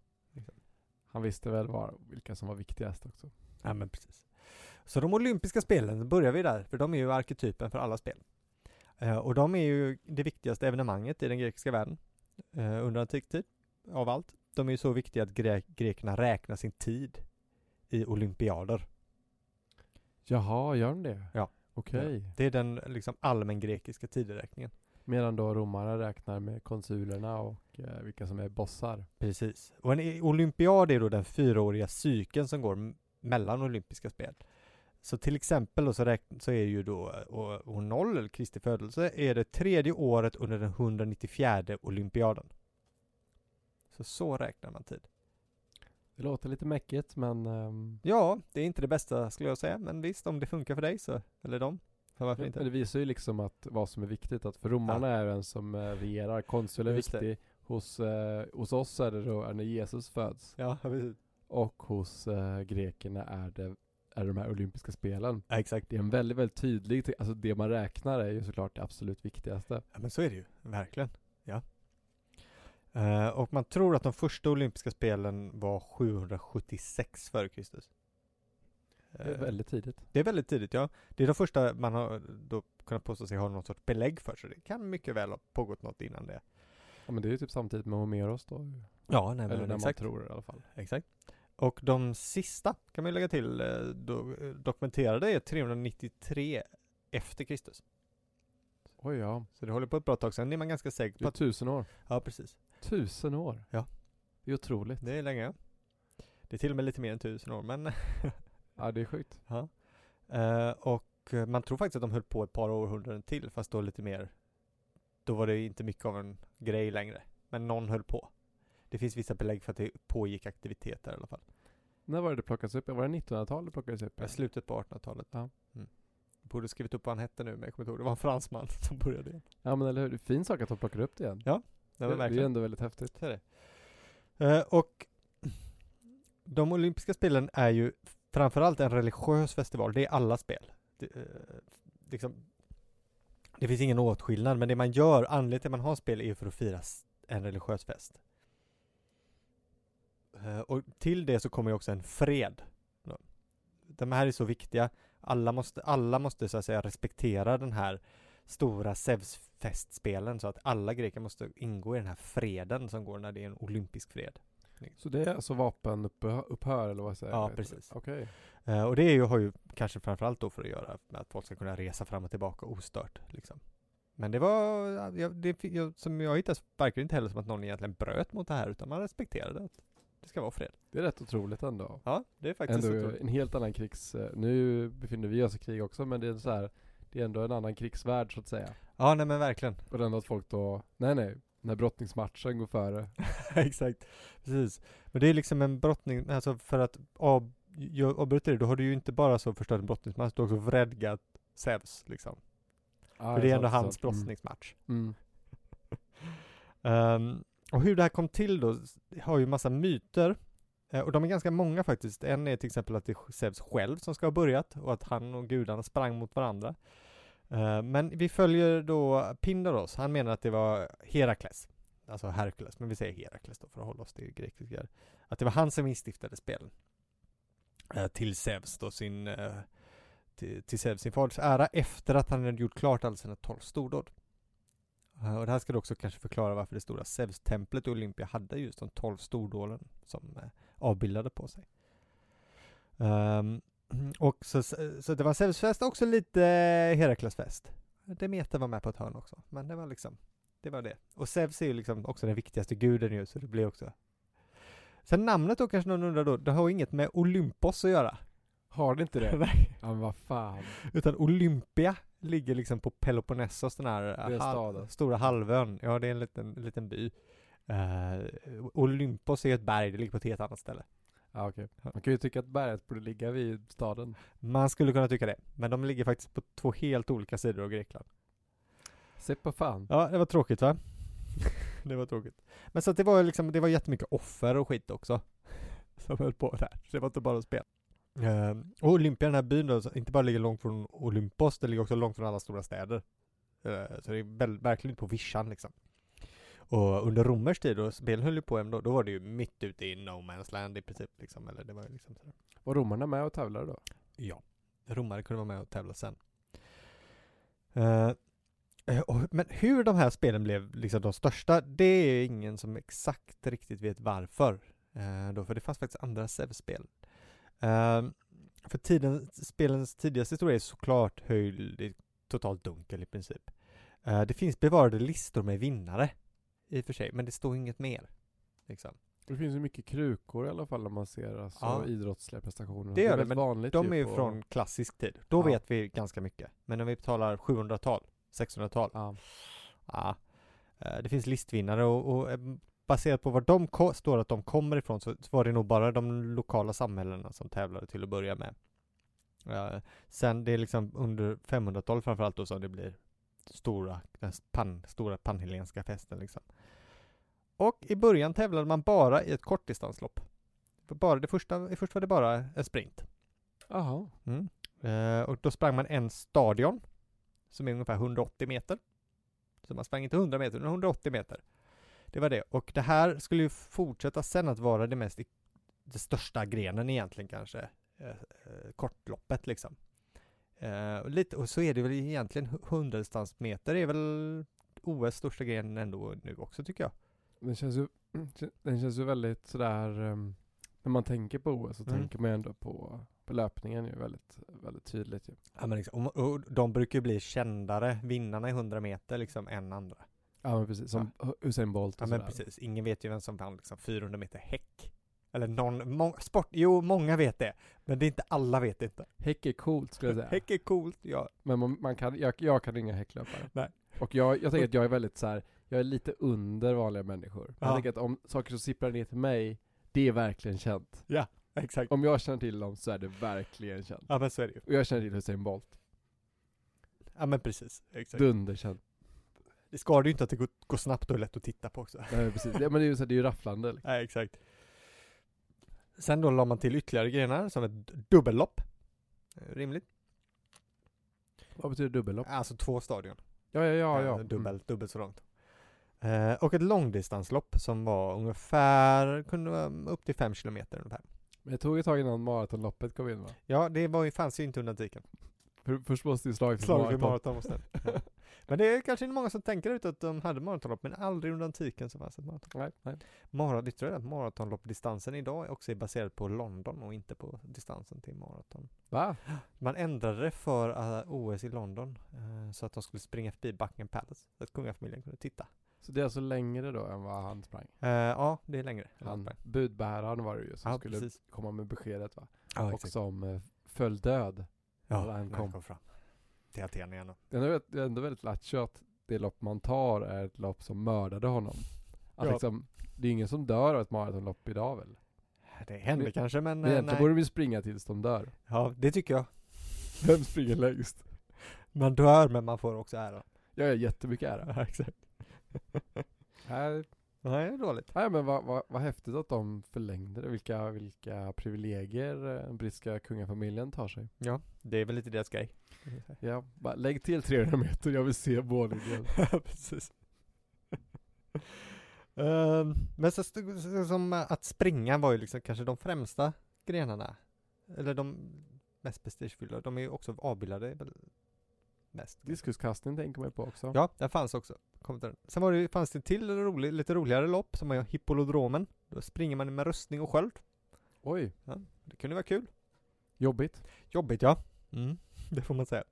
Han visste väl var, vilka som var viktigast också.
Ja, men precis. Så de olympiska spelen, börjar vi där, för de är ju arketypen för alla spel. Eh, och de är ju det viktigaste evenemanget i den grekiska världen eh, under antik tid, av allt. De är ju så viktiga att gre- grekerna räknar sin tid i olympiader.
Jaha, gör de det?
Ja.
Okej.
Det är den liksom allmängrekiska tideräkningen.
Medan då romarna räknar med konsulerna och eh, vilka som är bossar.
Precis. Och en i- olympiad är då den fyraåriga cykeln som går m- mellan olympiska spel. Så till exempel då så, räkn- så är ju då eh, år år noll, eller Kristi födelse, är det tredje året under den 194 olympiaden. Så så räknar man tid.
Det låter lite mäckigt men ehm,
Ja, det är inte det bästa skulle jag säga, men visst om det funkar för dig så, eller dem, så varför
men
inte?
det visar ju liksom att vad som är viktigt. Att för romarna är den som eh, regerar, konsul är
Just det.
viktig. Hos, eh, hos oss är det då är när Jesus föds.
Ja, precis.
Och hos eh, grekerna är det, är de här olympiska spelen.
Ja, [laughs] exakt.
Det är en väldigt, väldigt tydlig, te- alltså det man räknar är ju såklart det absolut viktigaste.
Ja men så är det ju, verkligen. Ja. Eh, och man tror att de första olympiska spelen var 776 före Kristus.
Det är
Eh,
väldigt tidigt.
det är väldigt tidigt ja. Det är de första man har då kunnat påstå sig ha något sorts belägg för, så det kan mycket väl ha pågått något innan det.
Ja men det är ju typ samtidigt med Homeros då. ju.
Ja, nej,
Eller när man tror i alla fall.
Exakt. Och de sista, kan man ju lägga till, eh, do, eh, dokumenterade är 393 efter Kristus.
Oj ja,
Så det håller på ett bra tag, sen är man ganska säker
det
på
är
att...
tusen år.
Ja, precis.
Tusen år?
Ja.
Det är otroligt.
Det är länge. Det är till och med lite mer än tusen år, men [laughs]
Ja, det är sjukt.
ja. Eh, och eh, man tror faktiskt att de höll på ett par århundraden till, fast då lite mer. Då var det inte mycket av en grej längre, men någon höll på. Det finns vissa belägg för att det pågick aktiviteter i alla fall.
När var det det plockades upp? Var det 1900-talet det plockades upp?
Ja. Slutet på 1800-talet.
Ja.
Mm. Borde skrivit upp vad han hette nu, men jag kommer inte ihåg. Det var en fransman [laughs] som började. det.
Ja, men eller hur? Det är en fin sak att de plockade upp det igen.
Det var
det, det är
verkligen.
ju ändå väldigt häftigt.
Så är det. Eh, och de olympiska spelen är ju framförallt en religiös festival. Det är alla spel. Det, eh, liksom, det finns ingen åtskillnad, men det man gör, anledningen till att man har spel är ju för att fira s- en religiös fest. Eh, och till det så kommer ju också en fred. De här är så viktiga. Alla måste, alla måste så att säga respektera den här stora Zeus-festspelen så att alla greker måste ingå i den här freden som går när det är en olympisk fred.
Så det är alltså vapenupphör eller vad säger
Ja,
jag?
precis.
Okej.
Eh, och det är ju, har ju kanske framförallt då för att göra med att folk ska kunna resa fram och tillbaka ostört. Liksom. Men det var, jag, det, fi- jag, som jag hittade så verkar det inte heller som att någon egentligen bröt mot det här utan man respekterade att det ska vara fred.
Det är rätt otroligt ändå.
Ja, det är faktiskt
Ändå
otroligt.
en helt annan krigs... eh, Nu befinner vi oss i krig också men det är så här, det är ändå en annan krigsvärld så att säga.
Ja, nej men verkligen.
Och det är ändå att folk då, nej nej, när brottningsmatchen går
[laughs]
före.
Exakt, precis. Men det är liksom en brottning, alltså för att av, jag avbryter det, då har du ju inte bara så förstört en brottningsmatch, du har också vredgat Zeus liksom.
Ah,
För det är ändå
sant, sant.
hans brottningsmatch.
Mm. Mm.
Ehm, och hur det här kom till då, s- har ju massa myter. eh, Och de är ganska många faktiskt. En är till exempel att det är Zeus själv som ska ha börjat och att han och gudarna sprang mot varandra. Eh, Men vi följer då Pindaros, han menar att det var Herakles, alltså Herkules, men vi säger Herakles då för att hålla oss till grekiska. Att det var han som instiftade spelen. Eh, Till Zeus då sin, eh, till, till Zeus sin faders ära efter att han hade gjort klart alla sina tolv stordåd. Eh, Och det här ska då också kanske förklara varför det stora Zeus-templet i Olympia hade just de tolv stordålen som eh, avbildade på sig. Ehm, [clears throat] och så, så det var Zeus-fest och också lite eh, Herakles-fest. Demeter var med på ett hörn också, men det var liksom, det var det. Och Zeus är ju liksom också den viktigaste guden ju, så det blir också. Sen namnet då kanske någon undrar då, det har ju inget med Olympos att göra.
Har det
[laughs]
inte det?
Nej.
ja men vad fan.
Utan Olympia ligger liksom på Peloponnesos, den här
är en stad.
stora halvön. Ja, det är en liten, liten by. Eh, Olympos är ett berg, det ligger på ett helt annat ställe.
Ja okej. Man kan ju tycka att berget borde ligga vid staden.
Man skulle kunna tycka det, men de ligger faktiskt på två helt olika sidor av Grekland.
Se på fan.
Ja, det var tråkigt va? [laughs] det var tråkigt. Men så att det var ju liksom, det var jättemycket offer och skit också. [laughs] Som höll på där, så det var inte bara spel. Ehm, och Olympia, den här byn då, så inte bara ligger långt från Olympos, Ehm, den ligger också långt från alla stora städer. Eh, så det är väl, verkligen inte på vischan liksom. Och under romersk tid, och spelen höll ju på ändå, då var det ju mitt ute i no man's land i princip. Liksom, eller det var ju liksom sådär.
Var romarna med och tävlade då?
Ja, romare kunde vara med och tävla sen. Eh, eh, och, men hur de här spelen blev liksom de största, det är ingen som exakt riktigt vet varför. Eh, då, för det fanns faktiskt andra SEV-spel. Eh, för tiden, spelens tidigaste historia är såklart höjd i totalt dunkel i princip. Eh, det finns bevarade listor med vinnare i och för sig, men det står inget mer. Liksom.
Det finns ju mycket krukor i alla fall om man ser alltså
Ja.
idrottsliga prestationer.
Det gör det,
väldigt
men
vanligt
De är ju
på-
från klassisk tid. Då
Typ Ja.
vet vi ganska mycket. Men om vi talar 700-tal, 600-tal,
Ja.
ja. Eh, Det finns listvinnare och, och eh, baserat på var de ko- står att de kommer ifrån så, så var det nog bara de lokala samhällena som tävlade till att börja med. Eh, Sen det är liksom under 500-talet framförallt då som det blir stora, den s- pan, stora panhelenska festen liksom. Och i början tävlade man bara i ett kortdistanslopp. För Bara det första, först var det bara en sprint.
Jaha.
Mm. Eh, och då sprang man en stadion som är ungefär 180 meter. Så man sprang inte 100 meter, utan 180 meter. Det var det. Och det här skulle ju fortsätta sen att vara det mest, i- det största grenen egentligen kanske. Eh, eh, kortloppet liksom. Eh, och, lite, och så är det väl egentligen, hu- 100-distansmeter är väl OS största grenen ändå nu också tycker jag.
Den känns ju, [clears throat] den känns ju väldigt sådär, ehm, när man tänker på OS så
Mm.
tänker man ju ändå på, på löpningen ju väldigt, väldigt tydligt ju.
Ja, men liksom, och, och de brukar ju bli kändare, vinnarna i 100 meter liksom, än andra.
Ja men precis, som Usain Bolt och
Ja men
sådär.
precis, ingen vet ju vem som vann liksom 400 meter häck. Eller någon, må, sport, jo många vet det. Men det är inte alla vet det inte.
Häck är coolt skulle jag säga.
Häck är coolt, ja.
Men man, man kan, jag, jag kan inga häcklöpare.
Nej.
Och jag, jag tänker att jag är väldigt så här. jag är lite under vanliga människor.
Ja.
Jag tänker att om saker som sipprar ner till mig, det är verkligen känt.
Exakt.
Om jag känner till dem så är det verkligen känt.
Ja men så är det ju.
Och jag känner till Usain Bolt.
Ja men precis. Exakt.
Dunderkänt.
Det skadar ju inte att det går, går snabbt och är lätt att titta på också. [laughs]
Nej, men precis. Ja, men det är ju, så här, det är ju rafflande. Liksom.
Nej exakt. Sen då la man till ytterligare grenar som ett dubbellopp. Eh, Rimligt.
Vad betyder dubbellopp?
Alltså två stadion.
Ja, ja, ja. Mm.
Eh,
ja.
Dubbelt, dubbelt så långt. Eh, och ett långdistanslopp som var ungefär, kunde vara upp till fem kilometer ungefär.
Men det tog ett tag innan maratonloppet kom in va?
Ja, det var ju, fanns ju inte under antiken.
För, först måste ju slaget
Slaget vid
maraton.
maraton och sen.
[laughs]
Ja. Men det är kanske inte många som tänker ut att de hade maratonlopp, men aldrig under antiken så fanns ett maraton.
Nej, nej.
Mara, visste du det? att Maratonloppdistansen idag också är baserad på London och inte på distansen till maraton.
Va?
Man ändrade det för eh, OS i London eh, så att de skulle springa förbi Buckingham Palace, så att kungafamiljen kunde titta.
Så det är alltså längre då än vad han sprang?
Eh, ja, det är längre.
Han, budbäraren var det ju som
ja,
skulle
precis.
komma med beskedet va?
Ja,
och som eh, föll död.
Ja,
när han kom.
fram. Till Aten igen. då.
Det är ändå rätt- det är ändå väldigt lattjo att det lopp man tar är ett lopp som mördade honom. Att
Ja.
liksom, det är ingen som dör av ett maratonlopp idag väl?
Det hände
Det-
kanske, men...
Nej,
eh,
Egentligen
nej.
borde vi springa tills de dör.
Ja, det tycker jag.
[laughs] Vem springer längst?
Man dör men man får också äran.
Jag gör jättemycket ära.
exakt.
[laughs] Nej,
Nej, det är dåligt.
nej men vad, vad, vad häftigt att de förlängde det. Vilka, vilka privilegier eh, den brittiska kungafamiljen tar sig.
Ja, det är väl lite deras grej.
Ja, bara lägg till 300 meter, jag vill se Bornegård.
[laughs] Precis. Ehm, men så, st- så, som eh, att springa var ju liksom kanske de främsta grenarna. Eller de mest prestigefyllda. De är ju också avbildade väl mest.
Diskuskastning tänker man ju på också.
Ja, den fanns också. Kom till den. Sen var det, fanns det till rolig, lite roligare lopp som var hippolodromen. Då springer man med rustning och sköld.
Oj,
Det kunde vara kul.
jobbigt.
Jobbigt ja. Mm. [laughs] Det får man säga.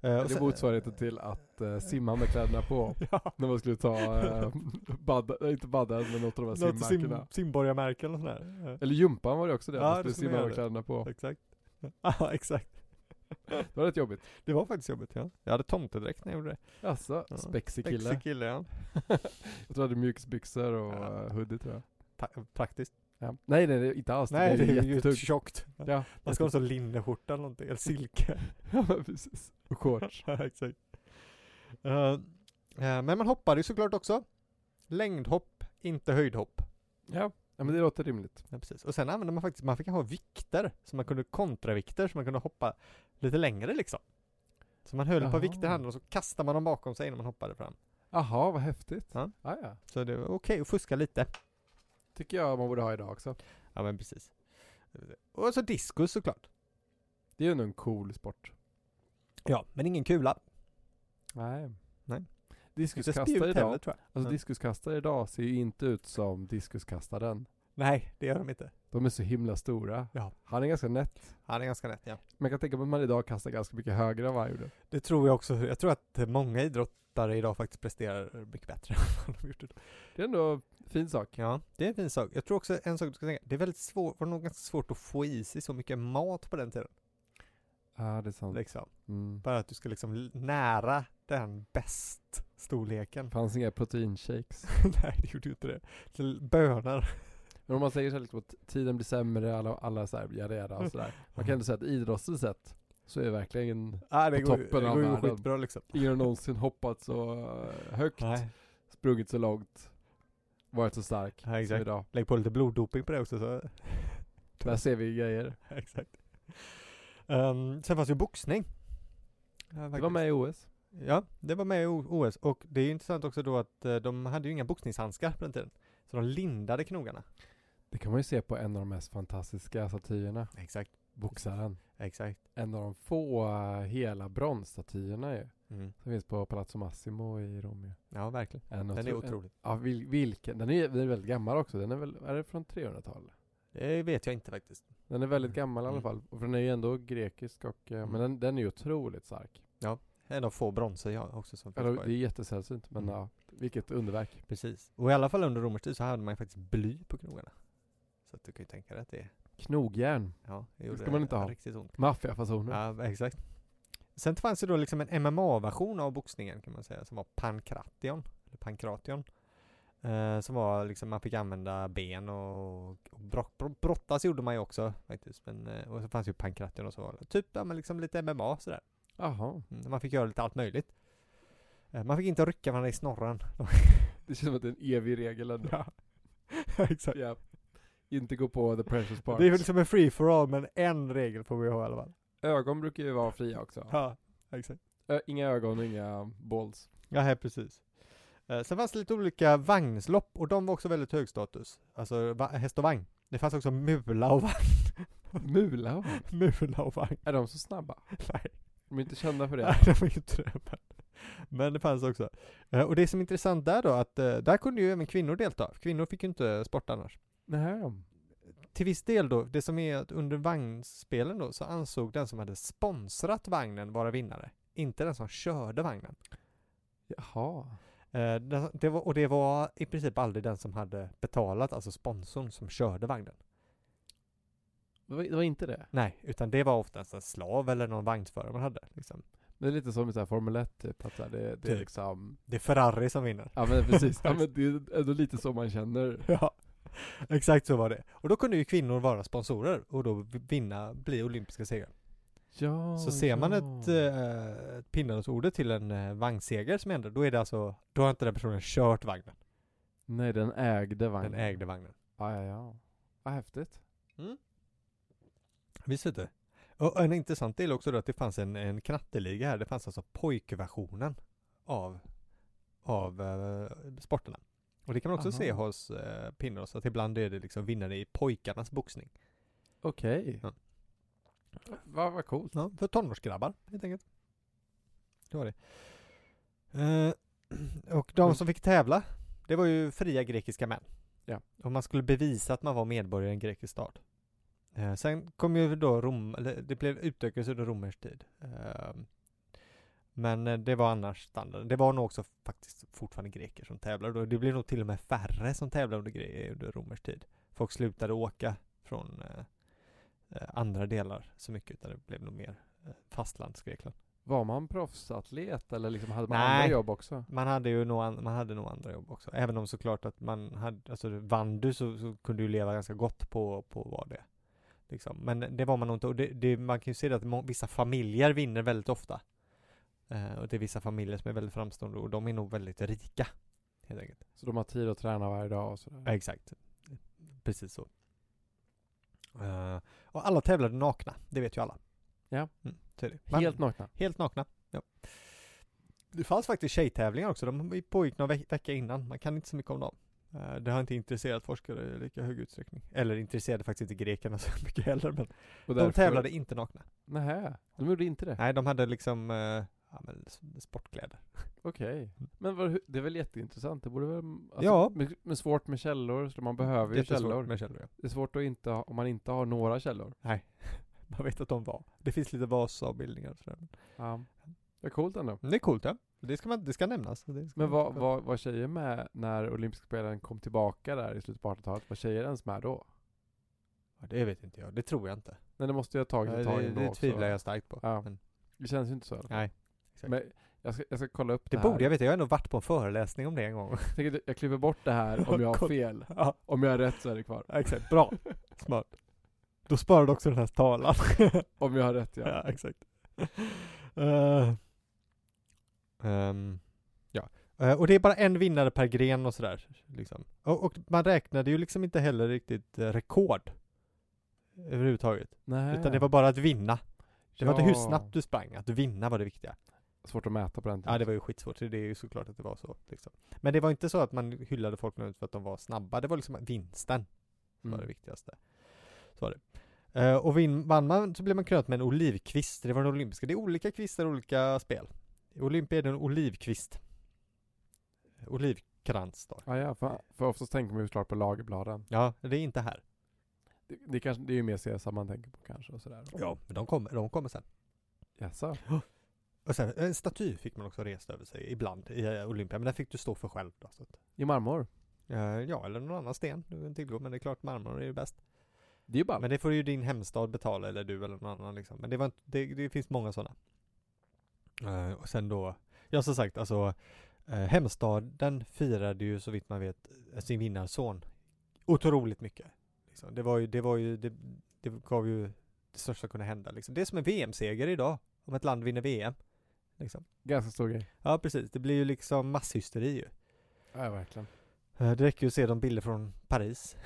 Eh, och
det är
sen-
motsvarigheten till att eh, simma med kläderna på
[laughs] Ja.
när man skulle ta,
[laughs]
eh, badda, nej, inte badda, men något av de här
Något sim,
simmärkena.
simborgarmärken och sådär. Eh,
Eller gympan var det också det,
Ja,
man
det
skulle
skulle
simma
man
med
göra
kläderna på.
Exakt. [laughs] Ja, exakt. [laughs]
Det var rätt jobbigt.
Det var faktiskt jobbigt ja. Jag hade tomtedräkt när jag gjorde det.
Alltså,
Ja.
spexig
Exig
kille.
kille ja.
Jag tror jag hade mjukisbyxor och
Ja.
eh, hoodie tror jag.
Ta- praktiskt.
Ja. Nej, nej, det är inte alls.
Nej, det är ju
jättetungt.
tjockt.
Ja,
Man ska ha en sån linneskjorta eller någonting, eller silke.
[laughs] ja, men precis. Och [laughs] shorts.
Ja, exakt. Eh, eh, men man hoppade ju såklart också. Längdhopp, inte höjdhopp.
[laughs] Ja. ja, men det låter rimligt.
Ja, precis. Och sen använde man faktiskt, man fick ha vikter, så man kunde kontravikter, så man kunde hoppa lite längre liksom. Så man höll på
Jaha.
vikter i handen och så kastade man dem bakom sig när man hoppade fram.
Aha, vad häftigt.
Ja.
Ah, ja.
Så det var okej att fuska lite.
Tycker jag man borde ha idag också.
Ja men precis. Och så diskus såklart.
Det är ju ändå en cool sport.
Ja, men ingen kula.
Nej.
Nej.
Diskuskastare idag,
tror jag.
alltså
Ja.
diskuskastare idag ser ju inte ut som diskuskastaren.
Nej, det gör de inte.
De är så himla stora.
Ja.
Han är ganska nätt.
Han är ganska nätt ja.
Man kan tänka mig att man idag kastar ganska mycket högre än vad han gjorde.
Det tror jag också. Jag tror att många idrottare idag faktiskt presterar mycket bättre [laughs] än vad de gjort idag.
Det är ändå en fin sak.
Ja, det är en fin sak. Jag tror också en sak du ska tänka, det är väldigt svårt, var nog ganska svårt att få i sig så mycket mat på den tiden.
Ja, det är sant.
Liksom.
Mm.
Bara att du ska liksom l- nära den bäst storleken. [laughs]
fanns inga proteinshakes.
Nej, det gjorde ju inte det. Till bönor.
Men om man säger så här liksom att tiden blir sämre, alla, alla så här, yada yada och sådär. Man kan ändå säga att idrottsligt sett så är verkligen
Ah, det,
På
går,
toppen
det
av
går ju
världen.
skitbra liksom.
ingen har någonsin hoppat så eh, högt,
Nej,
sprungit så långt, varit så stark
Ja, exakt.
som idag.
lägg på lite bloddoping på det också så. [laughs]
Där ser vi grejer.
Exakt. Ehm, sen fanns ju boxning.
Det var med i OS.
Ja, det var med i O- OS och det är ju intressant också då att eh, de hade ju inga boxningshandskar på den tiden. Så de lindade knogarna.
Det kan man ju se på en av de mest fantastiska statyerna,
Exakt.
boxaren.
Exakt.
En av de få eh, hela bronsstatyerna ju,
Mm.
som finns på Palazzo Massimo i Rom ju.
Ja, verkligen.
En
Den är
otro- en-
otrolig.
Ja, vil, vilken. Den är, den är väldigt gammal också. Den är väl, är det från 300-talet?
Det vet jag inte faktiskt.
Den är väldigt gammal i alla
Mm.
fall. Och för den är ju ändå grekisk och, eh,
Mm.
men den, den är ju otroligt stark.
En av få bronser jag också som
Eller,
finns
det
kvar.
är jättesällsynt, men
Mm.
ja, vilket underverk.
Precis. Och i alla fall under romersk tid så hade man ju faktiskt bly på knogarna. Så att du kan ju tänka dig att det,
Knogjärn,
ja, det gjorde
ska man inte ha. Mm.
riktigt ont.
maffiafasoner.
Ja, exakt. Sen fanns det då liksom en MMA-version av boxningen kan man säga, som var pankration, eller pankration. Eh, som var liksom, man fick använda ben och, och bro, bro, brottas gjorde man ju också faktiskt. Men, eh, och så fanns ju pankration och så var det typ, ja men liksom lite MMA sådär.
Jaha.
Mm, man fick göra lite allt möjligt. Eh, man fick inte rycka varandra i snorren. [laughs]
Det känns som att det är en evig regel ändå.
Ja. exakt.
Ja. Inte gå på the precious parts.
Det är väl liksom en free for all, men en regel får vi ha i alla fall.
Ögon brukar ju vara fria också.
Ja, exakt.
Ö, inga ögon och inga balls.
Ja, här, precis. Eh, Sen fanns det lite olika vagnslopp och de var också väldigt hög status. Alltså va- häst och vagn. Det fanns också mula och vagn. [laughs]
Mula va?
Mula och vagn. [laughs]
Är de så snabba?
Nej,
De är inte kända för det.
nej, [laughs] det var ju inte det. Men, men det fanns också. Eh, Och det som är intressant där då, att eh, där kunde ju även kvinnor delta. Kvinnor fick ju inte sporta annars.
Nej.
Till viss del då, det som är att under vagnspelen då, så ansåg den som hade sponsrat vagnen vara vinnare. Inte den som körde vagnen.
Jaha.
Eh, den- Det var, och det var i princip aldrig den som hade betalat, alltså sponsorn som körde vagnen.
Det var, det var inte det.
Nej, utan det var oftast en slav eller någon vagnsförare man hade. Liksom.
Det är lite som i så här Formel 1 typ. Att så här, det, det är
Typ.
liksom.
Det är Ferrari som vinner.
Ja men precis. [laughs] Ja, men det är ändå lite så man känner.
Ja, exakt så var det. Och då kunde ju kvinnor vara sponsorer och då vinna, bli olympiska segrar.
Ja.
så ser man
ja.
ett, äh, ett pinnadåsorder till en eh, vagnseger som händer, då är det alltså, då har inte den personen kört vagnen.
Nej den ägde vagnen.
Den ägde vagnen.
Ja ja ja. Vad häftigt.
Visst inte? Och en intressant del också då att det fanns en, en knatteliga här. Det fanns alltså pojkversionen av, av eh, sporterna. Och det kan man också
Aha.
se hos uh, Pinnos att ibland är det liksom vinnare i pojkarnas boxning.
Okej.
Ja.
Vad vad coolt.
Ja, för tonårsgrabbar helt enkelt. Det var det. Eh, [clears throat] och de
Mm.
som fick tävla, det var ju fria grekiska män.
Ja.
Och man skulle bevisa att man var medborgare i en grekisk stad. Eh, sen kom ju då Rom, eller det blev utökades under romersk tid. Eh, men eh, det var annars standarden. Det var nog också faktiskt fortfarande greker som tävlade då. Det blev nog till och med färre som tävlade under, gre- under romersk tid. Folk slutade åka från eh, eh, andra delar så mycket utan det blev nog mer eh, fastlandsgrekland.
Var man proffsatlet eller liksom hade man
Nej.
andra jobb också?
Man hade ju nog, an- man hade nog andra jobb också. Även om såklart att man hade, alltså vann du så, så kunde du leva ganska gott på, på vad det liksom. Men det var man nog inte och det, det, man kan ju se det att må, vissa familjer vinner väldigt ofta. Eh, och det är vissa familjer som är väldigt framstående och de är nog väldigt rika. Helt enkelt.
Så de har tid att träna varje dag och sådär?
Ja, Exakt. Precis så. Eh, och alla tävlade nakna, det vet ju alla.
Ja.
Mm, så är det. Man-
Helt nakna?
Helt nakna. Ja. Det fanns faktiskt tjejtävlingar också, de pågick någon ve- vecka innan, man kan inte så mycket om dem. Eh, Det har inte intresserat forskare i lika hög utsträckning. Eller intresserade faktiskt inte grekerna [laughs] så mycket heller, men
Och
de tävlade inte nakna.
Nähä, de gjorde inte det?
Nej, de hade liksom eh, ja, men s- sportkläder.
Okej. Men vad, det är väl jätteintressant? Det borde väl... Alltså,
Mm. Ja.
men- Men svårt med källor, så man behöver ju
Jättesvårt
källor.
Med källor ja.
Det är svårt att inte ha, om man inte har några källor.
Man vet att de var. Det finns lite Vasa-bildningar och sådär.
Ja. Det är coolt ändå.
Men Det är coolt ja. Det ska, man, det ska nämnas. Det ska
Men
man-
var, var, var tjejer med när olympiska spelen kom tillbaka där i slutet på 1800-talet? Var tjejer ens med då?
Ja, det vet inte jag, det tror jag inte.
Nej, det måste ju ha tagit ett
Nej,
tag
det
ändå
det
också.
tvivlar jag starkt på.
Ja.
Men,
Det känns ju inte så. i alla fall.
nej. Exakt.
Men jag ska, jag ska kolla upp det,
det
här.
borde jag veta, jag har ändå varit på en föreläsning om det en gång. [laughs]
Jag tänker att jag kliver bort det här om jag har
Kolla.
fel.
ja,
Om jag har rätt så är det kvar.
exakt. Bra. Smart. Då sparar du också den här talan.
Om jag har rätt
ja.
ja.
exakt. Eh, ehm, ja. Eh, och det är bara en vinnare per gren och sådär. Liksom. Och, och man räknade ju liksom inte heller riktigt eh, rekord. Överhuvudtaget.
Nej.
Utan det var bara att vinna. Det var inte hur
Ja.
snabbt du sprang, att vinna var det viktiga.
Svårt att mäta på den tiden.
Ja det var ju skitsvårt, så det är ju såklart att det var så. Liksom. Men det var inte så att man hyllade folk nödvändigtvis för att de var snabba, det var liksom vinsten som var det
Mm.
viktigaste. Så var det. Eh, och vin, vann man så blev man krönt med en olivkvist, det var den olympiska. Det är olika kvistar, olika spel. I Olympia är det en olivkvist. Olivkrans då.
Ja, ja för, för oftast tänker man ju såklart på lagerbladen.
Ja, det är inte här.
Det, det, kanske, det är ju mer Caesar man tänker på kanske och sådär.
Men de kommer, de kommer sen.
Jaså?
Och sen, en staty fick man också rest över sig ibland i eh, Olympia, men den fick du stå för själv. Då, så att,
I marmor?
eh, ja, eller någon annan sten du vill tillgå, men det är klart marmor är ju bäst.
Det är ju bara.
Men det får ju din hemstad betala eller du eller någon annan liksom. Men det, var inte, det, det finns många sådana. Eh, och sen då, ja som sagt alltså eh, hemstaden firade ju så vitt man vet eh, sin vinnarson otroligt mycket. Liksom. Det var ju, det var ju, det, det gav ju det största som kunde hända liksom. Det är som en VM-seger idag om ett land vinner VM. Liksom.
Ganska stor grej.
Ja precis, det blir ju liksom masshysteri ju.
Ja, verkligen.
Eh, det räcker ju att se de bilder från Paris.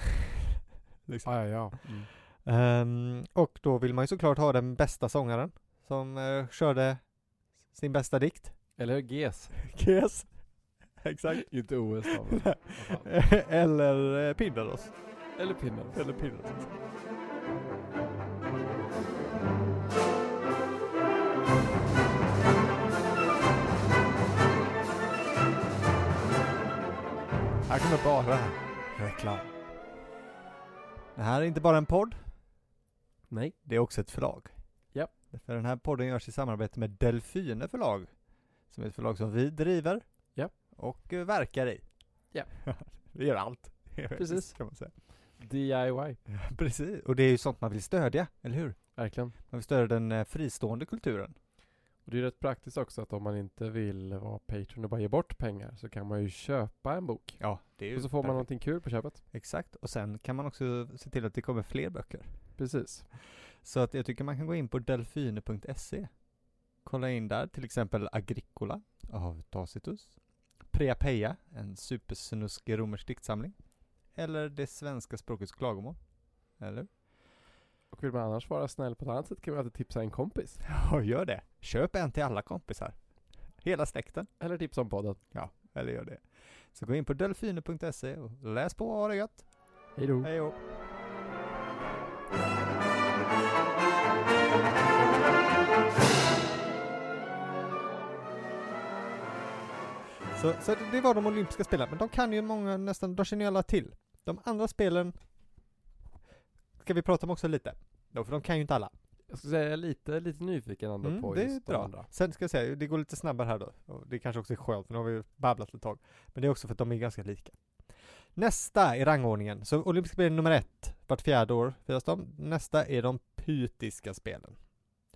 [laughs] liksom.
Ja, ja, ja. Mm.
Ehm, och då vill man ju såklart ha den bästa sångaren som eh, körde sin bästa dikt. [laughs]
Eller hur? GES.
Yes. [laughs] Exakt.
[laughs]
[laughs]
Inte OS då. men vad fan.
Eller eh, Pindaros.
Eller pinnen.
Eller Pindaros. Här kommer bara reklam. Det här är inte bara en podd.
Nej.
Det är också ett förlag.
Japp.
För den här podden görs i samarbete med Delfine förlag, som är ett förlag som vi driver
Japp.
och eh, verkar i.
Japp.
[laughs] vi gör allt.
Precis.
[laughs] Kan man säga.
DIY.
Precis, och det är ju sånt man vill stödja, eller hur?
Verkligen.
Man vill stödja den eh, fristående kulturen.
Och det är ju rätt praktiskt också att om man inte vill vara Patreon och bara ge bort pengar så kan man ju köpa en bok.
Ja, det är
Och så får man någonting kul på köpet.
Exakt, och sen kan man också se till att det kommer fler böcker.
Precis.
Så att jag tycker man kan gå in på delfine.se Kolla in där till exempel Agricola av Tacitus Preapeia, en supersnuskig romersk diktsamling Eller det svenska språkets klagomål Eller?
Och vill man annars vara snäll på ett annat sätt kan man alltid tipsa en kompis.
Ja, gör det! Köp en till alla kompisar Hela släkten
Eller tipsa om podden.
Ja, eller gör det Så gå in på delfine.se och läs på och ha det gött!
Hej då.
Hej då! Så, så det var de olympiska spelen, men de kan ju många nästan, de känner ju alla till. De andra spelen ska vi prata om också lite. Då, för de kan ju inte alla.
Jag skulle säga jag är lite, lite nyfiken ändå
Mm,
på
det är
just de
bra.
andra.
Sen ska jag säga, det går lite snabbare här då. Och det kanske också är skönt, för nu har vi ju babblat ett tag. Men det är också för att de är ganska lika. Nästa i rangordningen, så olympiska spelen nummer ett, vart fjärde år firas de. Nästa är de pytiska spelen.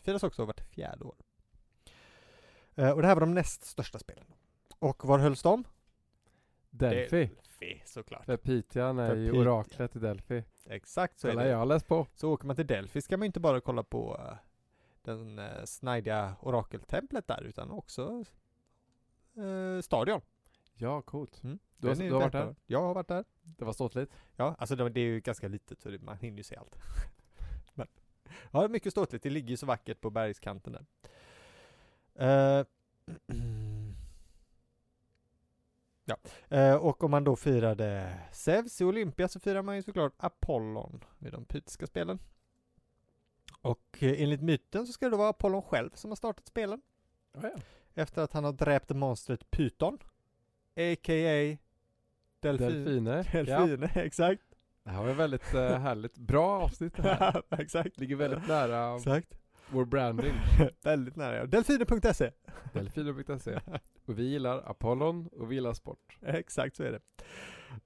Firas också vart fjärde år. Eh, Och det här var de näst största spelen. Och var hölls de?
Delphi.
Delphi, såklart.
För Pitean är
För
ju
Piteå.
oraklet i Delphi.
Exakt så är
Eller
det.
jag har läst på.
Så åker man till Delphi ska man ju inte bara kolla på eh, den eh, snajdiga orakeltemplet där utan också eh, stadion.
Ja, coolt.
Mm.
Du har-
Den är
du har varit
väldigt
där?
bra. Jag har varit där.
Det var ståtligt.
Ja, alltså det, det är ju ganska litet så det, man hinner ju se allt. [laughs] Men, ja, det är mycket [clears throat] ståtligt. Det ligger ju så vackert på bergskanten där. Eh, Eh, och om man då firade Zeus i Olympia så firar man ju såklart Apollon vid de pytiska spelen. Och eh, enligt myten så ska det då vara Apollon själv som har startat spelen
Ja, ja.
efter att han har dräpt monstret Pyton, a.k.a. Delfin. [laughs]
Delfiner. Ja.
Delfin, [laughs] exakt.
Det här var ett väldigt eh, härligt, bra avsnitt det [laughs] här.
[laughs] exakt.
Ligger väldigt nära
Exakt.
vår branding.
Väldigt nära. ja. Delfiner.se.
Delfiner.se. Och vi gillar Apollon och vi gillar sport.
Exakt så är det.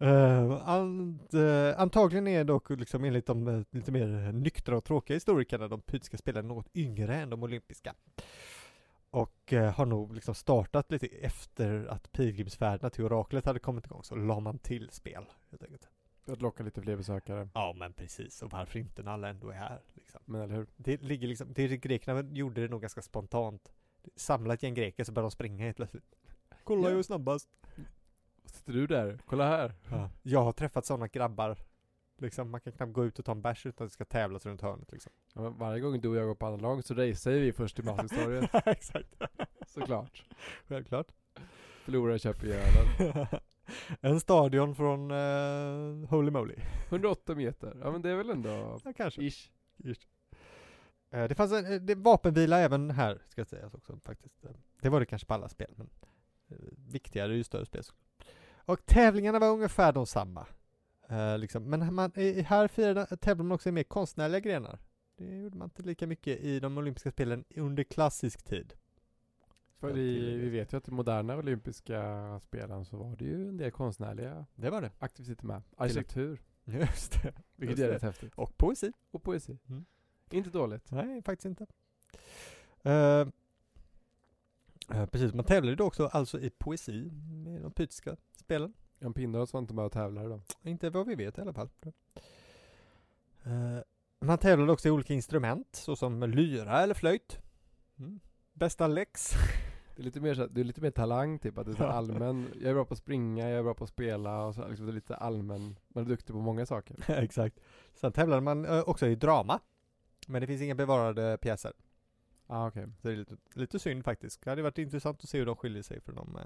Eh, and, eh, antagligen är dock liksom enligt de eh, lite mer nyktra och tråkiga historikerna de pytiska spelen något yngre än de olympiska. Och eh, har nog liksom startat lite efter att pilgrimsfärderna till oraklet hade kommit igång så la man till spel. Helt enkelt.
För att locka lite fler besökare.
Ja men precis, och varför inte när alla ändå är här. Liksom.
Men eller hur?
Det ligger liksom, det grekerna gjorde det nog ganska spontant. Samla ett gäng greker så började de springa helt plötsligt. Kolla
Ja.
jag är snabbast.
Sitter du där? Kolla här.
Ja. Jag har träffat sådana grabbar. Liksom, man kan knappt gå ut och ta en bärs utan att det ska tävlas runt hörnet. Liksom.
Ja, men varje gång du och jag går på andra lag så racear vi först i [laughs]
[laughs]
mathistorien.
Exakt.
Såklart.
Självklart.
Förlorar köper ölen.
[laughs] en stadion från eh, Holy Moly.
108 meter. Ja men det är väl ändå
Ja, kanske.
[laughs] ish.
Eh, det fanns en eh, det, vapenvila även här, ska jag säga också faktiskt. Eh, Det var det kanske på alla spel, men eh, viktigare är ju större spel. Och tävlingarna var ungefär de samma. Eh, liksom. Men man, i, här firade, tävlade man också i mer konstnärliga grenar. Det gjorde man inte lika mycket i de olympiska spelen under klassisk tid.
För vi, vi vet ju att i moderna olympiska spelen så var det ju en del konstnärliga
Det var det. [laughs]
aktiviteter med. Arkitektur.
Just det.
Vilket är rätt häftigt.
Och poesi.
Och poesi.
Mm.
Inte dåligt.
Nej, faktiskt inte. Eh, eh, precis, man tävlade ju då också alltså i poesi med de pytiska spelen.
Jan Pindaros var inte med och tävlade då.
Inte vad vi vet i alla fall. Eh, man tävlade också i olika instrument såsom lyra eller flöjt. Mm. Bästa läx.
Det är lite mer, så här- det är lite mer talang typ, att det är så [laughs] här allmän, jag är bra på att springa, jag är bra på att spela och så här, liksom, det är lite allmän, man är duktig på många saker.
[laughs] Exakt. Sen tävlade man eh, också i drama. Men det finns inga bevarade pjäser.
Ah, okej.
Så det är lite, lite synd faktiskt. Det hade varit intressant att se hur de skiljer sig från de eh,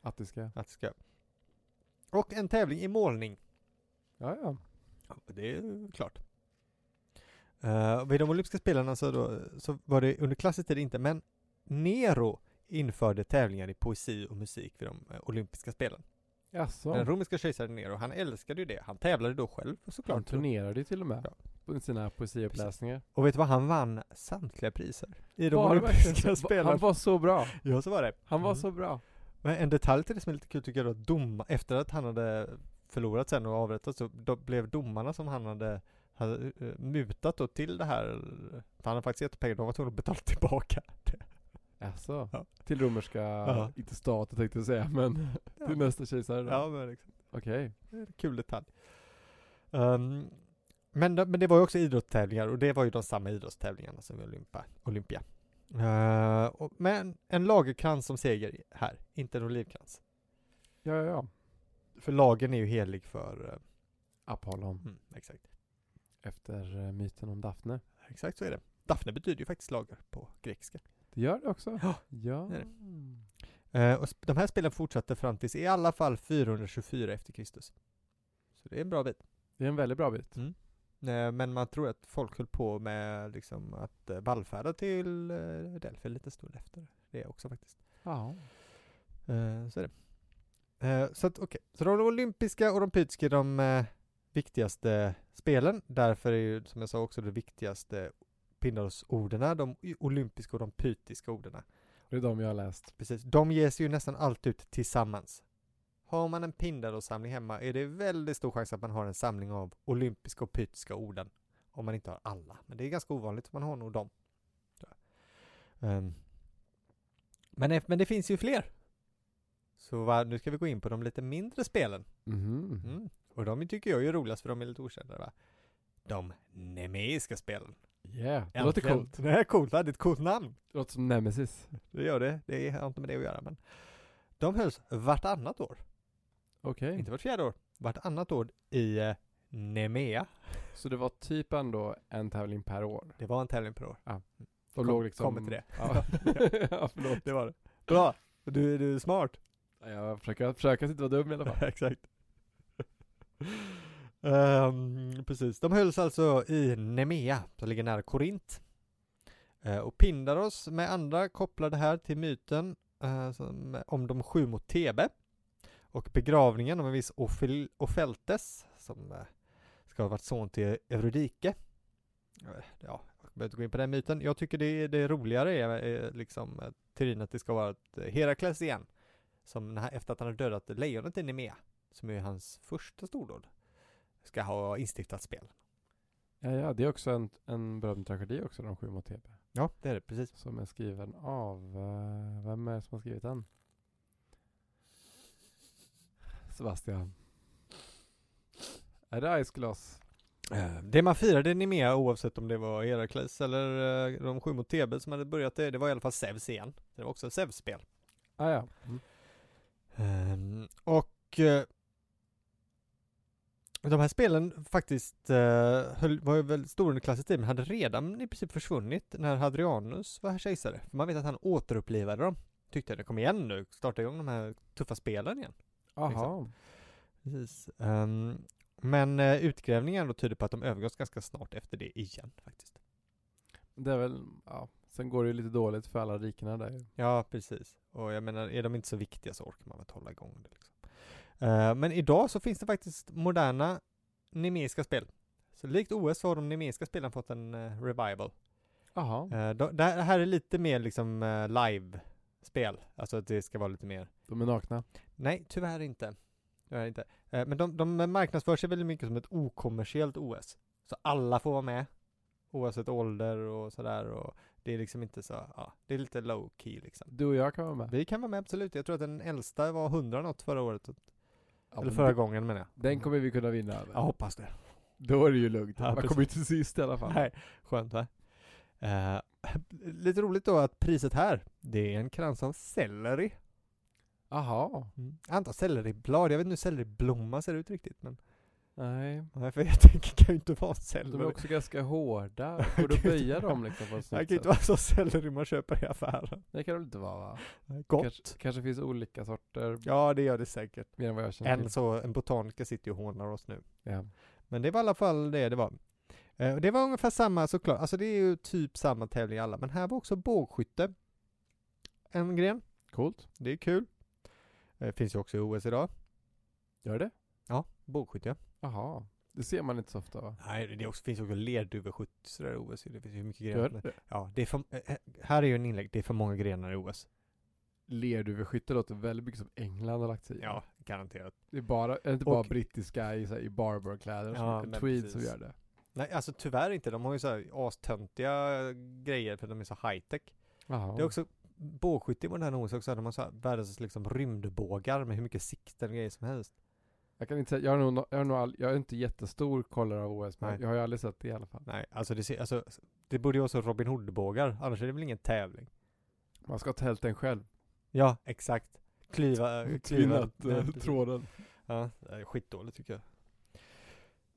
Attiska.
attiska. Och en tävling i målning.
Ja, ja.
Ja, det är klart. Uh, vid de olympiska spelarna så, då, så var det under klassisk tid inte, men Nero införde tävlingar i poesi och musik vid de eh, olympiska spelen. Den
Jaså?
romerska kejsaren Nero, han älskade ju det. Han tävlade då själv
Han
såklart.
turnerade ju till och med.
Ja.
På sina poesiuppläsningar.
Och vet du vad, han vann samtliga priser i de
Var det
olympiska
verkligen så? Va-
spelen.
Han var så bra.
Ja, så var det.
Han var
Mm.
så bra.
Men en detalj till det som är lite kul tycker jag då, att dom, efter att han hade förlorat sen och avrättats så då blev domarna som han hade, hade eh, mutat då till det här, för han hade faktiskt gett pengar, de var tvungna att betala [laughs] tillbaka.
Jaså?
Ja.
Alltså, Till romerska,
Ja.
inte staten tänkte jag säga, men [laughs] till nästa kejsare då.
Ja, men liksom,
Okej.
det är en kul detalj. Ehm, men, de- men det var ju också idrottstävlingar och det var ju de samma idrottstävlingarna som i Olympa, Olympia. Eh, och, men en lagerkrans som seger här, inte en olivkrans.
Ja, ja, ja.
För lagen är ju helig för... eh,
Apollon.
Mm, exakt.
Efter eh, myten om Daphne.
Exakt så är det. Daphne betyder ju faktiskt lager på grekiska.
Det gör det också.
Ja,
Ja.
det är Eh, och sp- de här spelen fortsatte fram tills i alla fall 424 efter Kristus. Så det är en bra bit.
Det är en väldigt bra bit.
Eh, men man tror att folk höll på med liksom att eh, vallfärda till eh, Delfi lite stund efter det också faktiskt.
Ja.
Eh, så är det. Eh, så att okej, så de olympiska och de pytiska är de eh, viktigaste spelen. Därför är ju som jag sa också det viktigaste Pindaros-orderna, de olympiska och de pytiska orderna.
Det är de jag har läst.
Precis, de ges ju nästan alltid ut tillsammans. Har man en Pindaros-samling hemma är det väldigt stor chans att man har en samling av olympiska och pytiska orden. Om man inte har alla, men det är ganska ovanligt, man har nog dem. tror jag. Ehm, men, eff- men det finns ju fler. Så va, nu ska vi gå in på de lite mindre spelen.
Mhm.
Mm. Och de tycker jag är roligast för de är lite okända va? De nemeiska spelen.
Yeah, det låter
Äntligen.
coolt.
Det här är coolt, va? det är ett coolt namn.
Det låter som Nemesis.
Det gör det, det har inte med det att göra men. De hölls vartannat år,
Okej.
inte vart fjärde år, vartannat år i eh, Nemea.
Så det var typ ändå en tävling per år.
Det var en tävling per år.
De
Kom-
låg liksom...
kommer till det.
[laughs] Ja, ja förlåt.
Det var det. Bra! Du, du är smart.
Jag försöker, försöker att inte vara dum i alla fall.
[laughs] Exakt. Ehm, precis, de hölls alltså i Nemea, som ligger nära Korint. Eh, och Pindaros med andra kopplade här till myten eh, som, om de sju mot Tebe och begravningen av en viss Ofel- Ofeltes som eh, ska ha varit son till Eurydike. Eh, Ja, jag behöver inte gå in på den myten. Jag tycker det, det roligare är eh, liksom eh, teorin att det ska vara att eh, Herakles igen, som när, han- efter att han har dödat lejonet i Nemea, som är hans första stordåd, ska ha instiftat spel.
Ja, ja, det är också en, en berömd tragedi också, De sju mot TB.
Ja, det är det, precis.
Som är skriven av, eh, vem är det som har skrivit den? Sebastian. Är det Ice Glass?
Eh, Det man firade i Nemea oavsett om det var Herakles eller eh, de sju mot Tebe som hade börjat det, det var i alla fall Zeus igen. Det var också ett Zeus-spel.
Ah, ja. Mm.
Ehm, och eh, de här spelen faktiskt eh, höll, var ju väldigt stora under klassisk tid men hade redan i princip försvunnit när Hadrianus var kejsare. För man vet att han återupplivade dem. Tyckte jag det kom igen nu, starta igång de här tuffa spelen igen.
Aha.
Precis. Ehm, men eh, utgrävningar då tyder på att de övergavs ganska snart efter det igen faktiskt.
Det är väl, ja. Sen går det ju lite dåligt för alla rikena där ju.
Ja, precis. Och jag menar, är de inte så viktiga så orkar man väl hålla igång det. Liksom. Eh, men idag så finns det faktiskt moderna nemeiska spel. Så likt OS så har de nemeiska spelen fått en eh, revival.
Jaha.
Eh, då, det här det här är lite mer liksom eh, live-spel. Alltså att det ska vara lite mer
De är nakna.
Nej, tyvärr inte. Tyvärr inte. Eh, Men de, de marknadsför sig väldigt mycket som ett okommersiellt OS. Så alla får vara med, oavsett ålder och sådär. Och det är liksom inte så, ja, det är lite low key liksom.
Du och jag kan vara med.
Vi kan vara med absolut. Jag tror att den äldsta var 100 något förra året.
Ja,
Eller
men
förra
d-
gången menar jag. Mm.
Den kommer vi kunna vinna över.
Jag hoppas det.
Då är det ju lugnt.
Ja,
Man
precis.
kommer ju till sist i alla fall.
Nej, skönt va? Eh, [laughs] lite roligt då att priset här, det är en krans av selleri.
Aha.
Jag antar selleriblad, jag vet inte hur selleriblomma ser ut riktigt men
Nej.
Nej, för [laughs] jag tänker kan ju inte vara
De är
selleri.
också ganska hårda. Går det att
kan ju
böja
inte-
dem liksom på ett
Det kan
snyggt
ju inte
sätt?
vara så selleri man köper i affären.
Det kan det väl inte vara va?
Gott.
Kanske, kanske finns olika sorter
Ja, det gör det säkert.
mer än vad jag känner
En,
till.
så, en botaniker sitter ju och hånar oss nu.
Ja.
Men det var i alla fall det det var. Eh, och Det var ungefär samma såklart, alltså det är ju typ samma tävling i alla, men här var också bågskytte. En gren,
Coolt.
det är kul. Eh, finns ju också i OS idag.
Gör det?
Ja, bågskytte ja.
Jaha. Det ser man inte så ofta va?
Nej, det är också, finns också lerduveskytte sådär i OS, det finns ju hur mycket
Gör
grenar. som-
det?
Ja, det är för, eh, här är ju en inlägg, det är för många grenar i OS.
Lerduveskytte låter väldigt mycket som England har lagt sig i.
Ja, garanterat.
Det är bara, är det inte bara
Och-
brittiska i, så här, i barberkläder och
Ja,
sånt?
men
tweed
precis.
som gör det.
Nej, alltså tyvärr inte. De har ju så här astöntiga eh, grejer för att de är så high-tech.
Jaha.
Det är också bågskytte i modern OS också. De har så här världens liksom rymdbågar med hur mycket sikten och grejer som helst.
Jag kan inte säga, jag har nog, no- jag har nog all, jag är inte jättestor kollare av OS men
Nej.
jag har ju aldrig sett det i alla fall.
Nej, alltså det, ser, alltså det borde ju vara så Robin Hood-bågar. Annars är det väl ingen tävling?
Man ska ha tälten själv.
Ja, exakt. [laughs] Klyva, klyva.
Tvinnat eh, tråden.
Ja, det är skitdåligt tycker jag.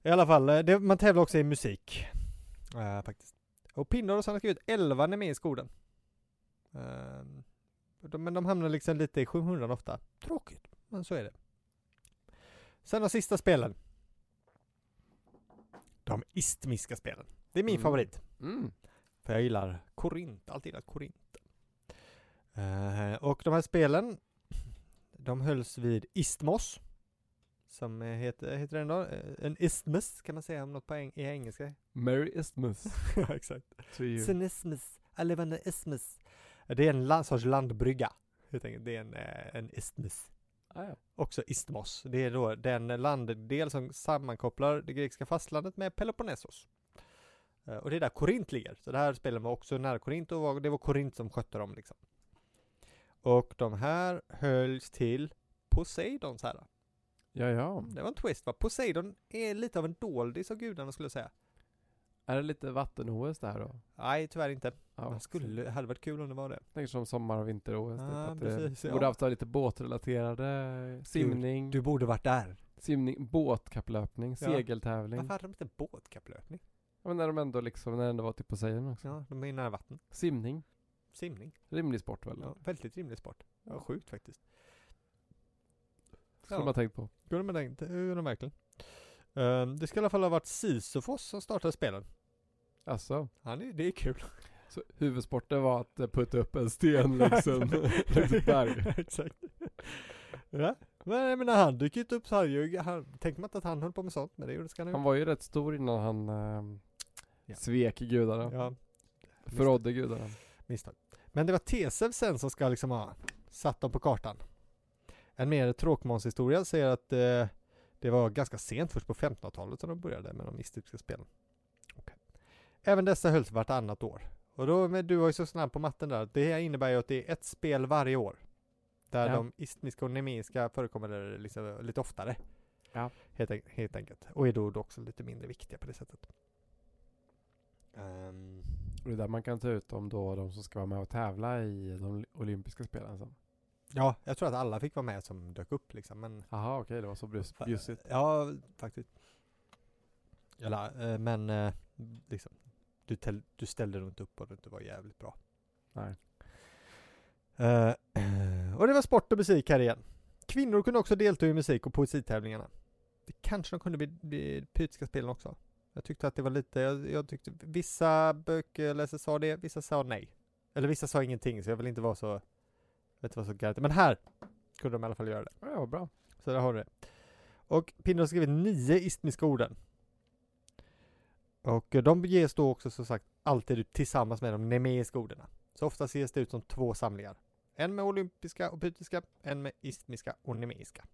I alla fall, eh, det, man tävlar också i musik. Eh, faktiskt. Och Pindaros han har skrivit 11 när med i skolan. Eh, de, men de hamnar liksom lite i 700 ofta. Tråkigt, men så är det. Sen de sista spelen. De istmiska spelen. Det är min
Mm.
favorit.
Mm.
För jag gillar Korint, alltid gillat Korint. Eh, och de här spelen, de hölls vid Istmos. Som eh, heter, heter den då? Eh, En istmus kan man säga om något på eng- i engelska. [laughs]
Merry Isthmus.
ja, exakt.
to you.
Sinismus, levande istmus. Det är en land, sorts landbrygga. Helt enkelt. Det är en, eh, en istmus.
Ah, ja.
Också Istmos. Det är då den landdel som sammankopplar det grekiska fastlandet med Peloponnesos. Eh, Och det är där Korint ligger. Så det här spelen var också nära Korint och var, det var Korint som skötte dem liksom. Och de här hölls till Poseidons herrar.
ja, ja.
Det var en twist va? Poseidon är lite av en doldis av gudarna skulle jag säga.
Är det lite vatten-OS det här då?
Nej, tyvärr inte.
Ja,
Men skulle, hade varit kul om det var det.
Tänker som sommar och vinter-OS. typ,
Ah,
att
precis,
det
ja.
borde haft lite båtrelaterade, simning,
Du borde varit där.
simning båtkapplöpning,
Ja.
segeltävling.
Varför hade de inte båtkapplöpning?
Ja, men när de ändå liksom, när det ändå var typ Poseidon också.
Ja, de är ju nära vatten.
Simning,
Simning.
rimlig sport väl?
Ja, väldigt rimlig sport. Ja, sjukt faktiskt.
Skulle
Ja.
man tänkt på.
Gjorde de det? Det gjorde de verkligen. Ehm, det ska i alla fall ha varit Sisyfos som startade spelen.
Alltså,
Han är, det är kul.
så huvudsporten var att eh, putta upp en
[laughs]
sten liksom. [laughs] runt ett berg.
Exakt. Ja. Men jag menar han dyker ju inte upp så här ju, han, tänker man inte att han höll på med sånt, men det gjorde ska han ju.
Han var ju rätt stor innan han eh,
Ja.
svek gudarna.
Ja,
Förrådde gudarna.
misstag. Men det var Tesev sen som ska liksom ha satt dem på kartan. En mer tråkmånshistoria säger att eh, det var ganska sent, först på 1500-talet som de började med de istrypska spelen. Okej. Även dessa hölls vartannat år. Och då, men du var ju så snabb på matten där, det här innebär ju att det är ett spel varje år. Där
Ja.
de istmiska och nemeiska förekommer liksom lite oftare.
Ja.
Helt, en- helt enkelt. Och är då då också lite mindre viktiga på det sättet. Ehm,
Och det är där man kan ta ut om då de som ska vara med och tävla i de olympiska spelen sen.
Ja, jag tror att alla fick vara med som dök upp liksom, men
Jaha, okej, det var så brus- bjussigt.
Ja, faktiskt. Eller, eh, men eh, liksom, du, tel- du ställde nog inte upp och du inte var jävligt bra.
Nej.
Eh, [clears throat] och det var sport och musik här igen. Kvinnor kunde också delta i musik och poesitävlingarna. Det kanske de kunde vid, vid pytiska spelen också. Jag tyckte att det var lite, jag, jag tyckte vissa böcker sa det, vissa sa nej. Eller vissa sa ingenting, så jag vill inte vara så, jag vet inte vara så garanterad. Men här kunde de i alla fall göra det.
Ja, ja, bra.
Så där har du det. Och Pindar har skrivit nio istmiska orden. Och eh, de ges då också som sagt alltid ut tillsammans med de nemeiska orden. Så ofta ses det ut som två samlingar. En med olympiska och pytiska, en med istmiska och nemeiska.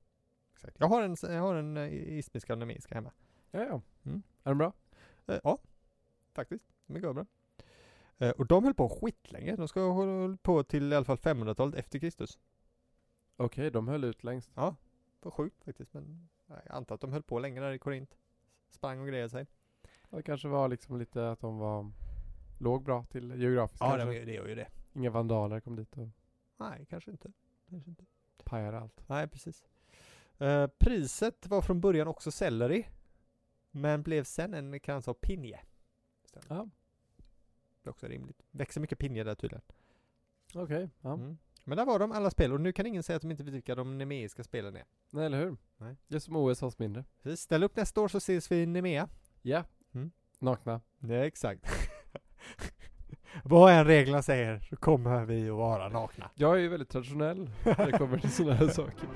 Exakt. Jag har en, jag har en eh, istmiska och nemeiska hemma.
Ja, ja.
Mm.
Är den bra?
Eh, ja, faktiskt. De är bra. Eh, och de höll på skitlänge. De ska ha hållit på till i alla fall 500-talet efter Kristus.
Okej, de höll ut längst.
Vad sjukt faktiskt, men jag antar att de höll på länge där i Korint. Sprang och grejade sig.
Det kanske var liksom lite att de var låg bra till geografiskt
Ja,
kanske.
de gör, det gör ju det.
Inga vandaler kom dit och
Nej, kanske inte. Kanske inte.
pajade allt.
Nej, precis. Eh, priset var från början också selleri, men blev sen en krans av pinje.
Ja.
Det är också rimligt. Växer mycket pinje där tydligen.
Okej, ja.
Mm. Men där var de alla spel och nu kan ingen säga att de inte vet vilka de nemeiska spelen är.
Nej, eller hur?
Nej.
Det är som OS fast mindre.
Precis. Ställ upp nästa år så ses vi i Nemea.
Ja.
Mm.
Nakna.
Ja, exakt. [laughs] Vad än reglerna säger så kommer vi att vara nakna.
Jag är ju väldigt traditionell när det kommer till sådana här [laughs] saker.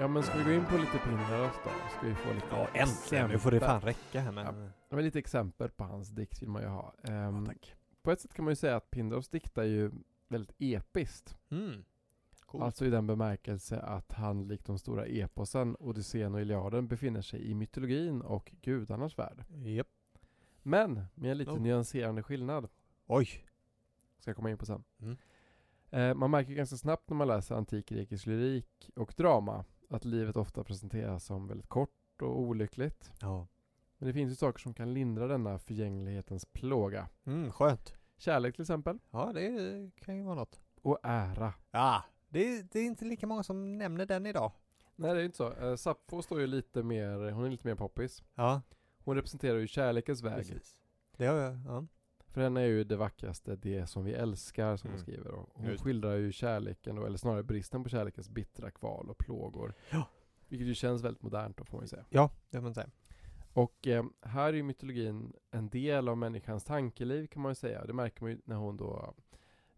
Ja men ska vi gå in på lite pinnar då? Ska vi få lite
[laughs] Ja, äntligen. Nu får det
exempel?
fan räcka här men...
Ja, men lite exempel på hans dikt vill man ju ha. Ehm,
tack.
på ett sätt kan man ju säga att Pindaros diktar ju väldigt episkt.
Mm. Coolt.
Alltså i den bemärkelse att han likt de stora eposen, Odysseen och Iliaden befinner sig i mytologin och gudarnas värld.
Japp.
Men med en lite
Oh.
nyanserande skillnad,
Oj.
ska jag komma in på sen.
Mm.
Eh, man märker ganska snabbt när man läser antik grekisk lyrik och drama att livet ofta presenteras som väldigt kort och olyckligt.
Ja.
Men det finns ju saker som kan lindra denna förgänglighetens plåga.
Mm, skönt.
Kärlek till exempel,
Ja, det kan ju vara något.
och ära.
Ja, det, det är inte lika många som nämner den idag.
Nej det är ju inte så. Eh, Sappho står ju lite mer, hon är lite mer poppis.
Ja,
Hon representerar ju kärlekens väg.
precis. Det har jag. Ja.
För henne är ju det vackraste det som vi älskar som hon
Mm.
skriver. Och hon
Just det.
skildrar ju kärleken, då, eller snarare bristen på kärlekens bittra kval och plågor.
Ja.
Vilket ju känns väldigt modernt då får man ju säga.
ja, det får man säga.
Och eh, här är ju mytologin en del av människans tankeliv kan man ju säga. Det märker man ju när hon då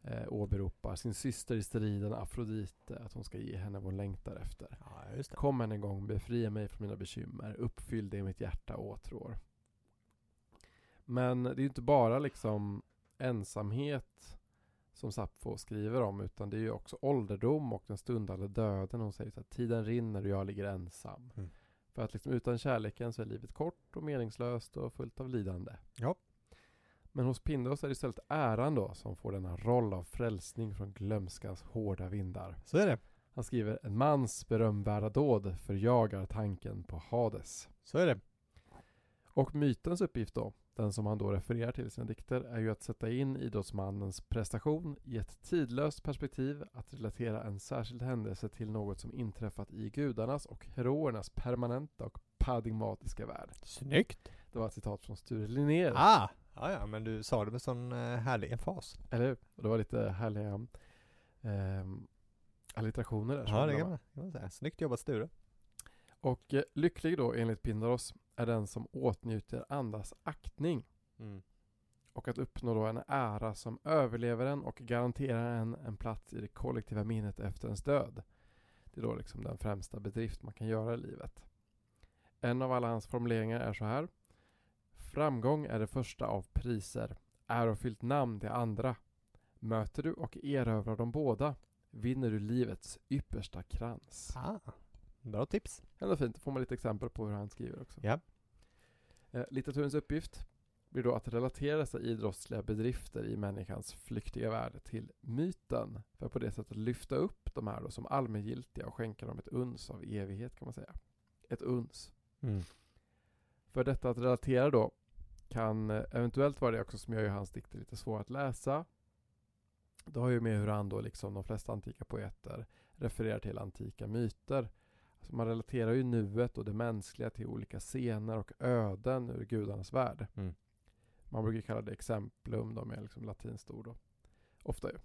eh, åberopar sin syster i striden, Afrodite, att hon ska ge henne vad hon längtar efter.
Ja, just
Kom än en gång, befria mig från mina bekymmer, uppfyll det i mitt hjärta åtrår. Men det är ju inte bara liksom ensamhet som Sappho skriver om, utan det är ju också ålderdom och den stundande döden. Hon säger så att tiden rinner och jag ligger ensam.
Mm.
För att liksom utan kärleken så är livet kort och meningslöst och fullt av lidande.
Ja.
Men hos Pindos är det istället äran då som får denna roll av frälsning från glömskans hårda vindar.
Så är det.
Han skriver en mans berömvärda dåd förjagar tanken på Hades.
Så är det.
Och mytens uppgift då, Den som han då refererar till i sina dikter är ju att sätta in idrottsmannens prestation i ett tidlöst perspektiv, att relatera en särskild händelse till något som inträffat i gudarnas och heroernas permanenta och paradigmatiska värld.
Snyggt!
Det var ett citat från Sture Linnér.
Ah! Ja, ja, men du sa det med sån eh, härlig emfas.
Eller hur? Och det var lite härliga ehm, allitterationer där. som
Ja,
var
det
bra,
kan
va?
man, kan man säga. Snyggt jobbat Sture.
Och eh, lycklig då, enligt Pindaros, är den som åtnjuter andras aktning
Mm.
och att uppnå då en ära som överlever en och garanterar en en plats i det kollektiva minnet efter ens död. Det är då liksom den främsta bedrift man kan göra i livet. En av alla hans formuleringar är så här. Framgång är det första av priser, ärofyllt namn det andra. Möter du och erövrar dem båda vinner du livets yppersta krans.
Ah, bra tips.
Ändå fint, då får man lite exempel på hur han skriver också.
Ja.
Eh, litteraturens uppgift blir då att relatera dessa idrottsliga bedrifter i människans flyktiga värld till myten, för att på det sättet lyfta upp de här då som allmängiltiga och skänka dem ett uns av evighet kan man säga. Ett uns.
Mm.
För detta att relatera då kan eh, eventuellt vara det också som gör ju hans dikter lite svåra att läsa. Det har ju med hur han då liksom de flesta antika poeter refererar till antika myter. Alltså man relaterar ju nuet och det mänskliga till olika scener och öden ur gudarnas värld.
Mm.
Man brukar kalla det exemplum då med liksom latinskt ord. Då. Ofta ju.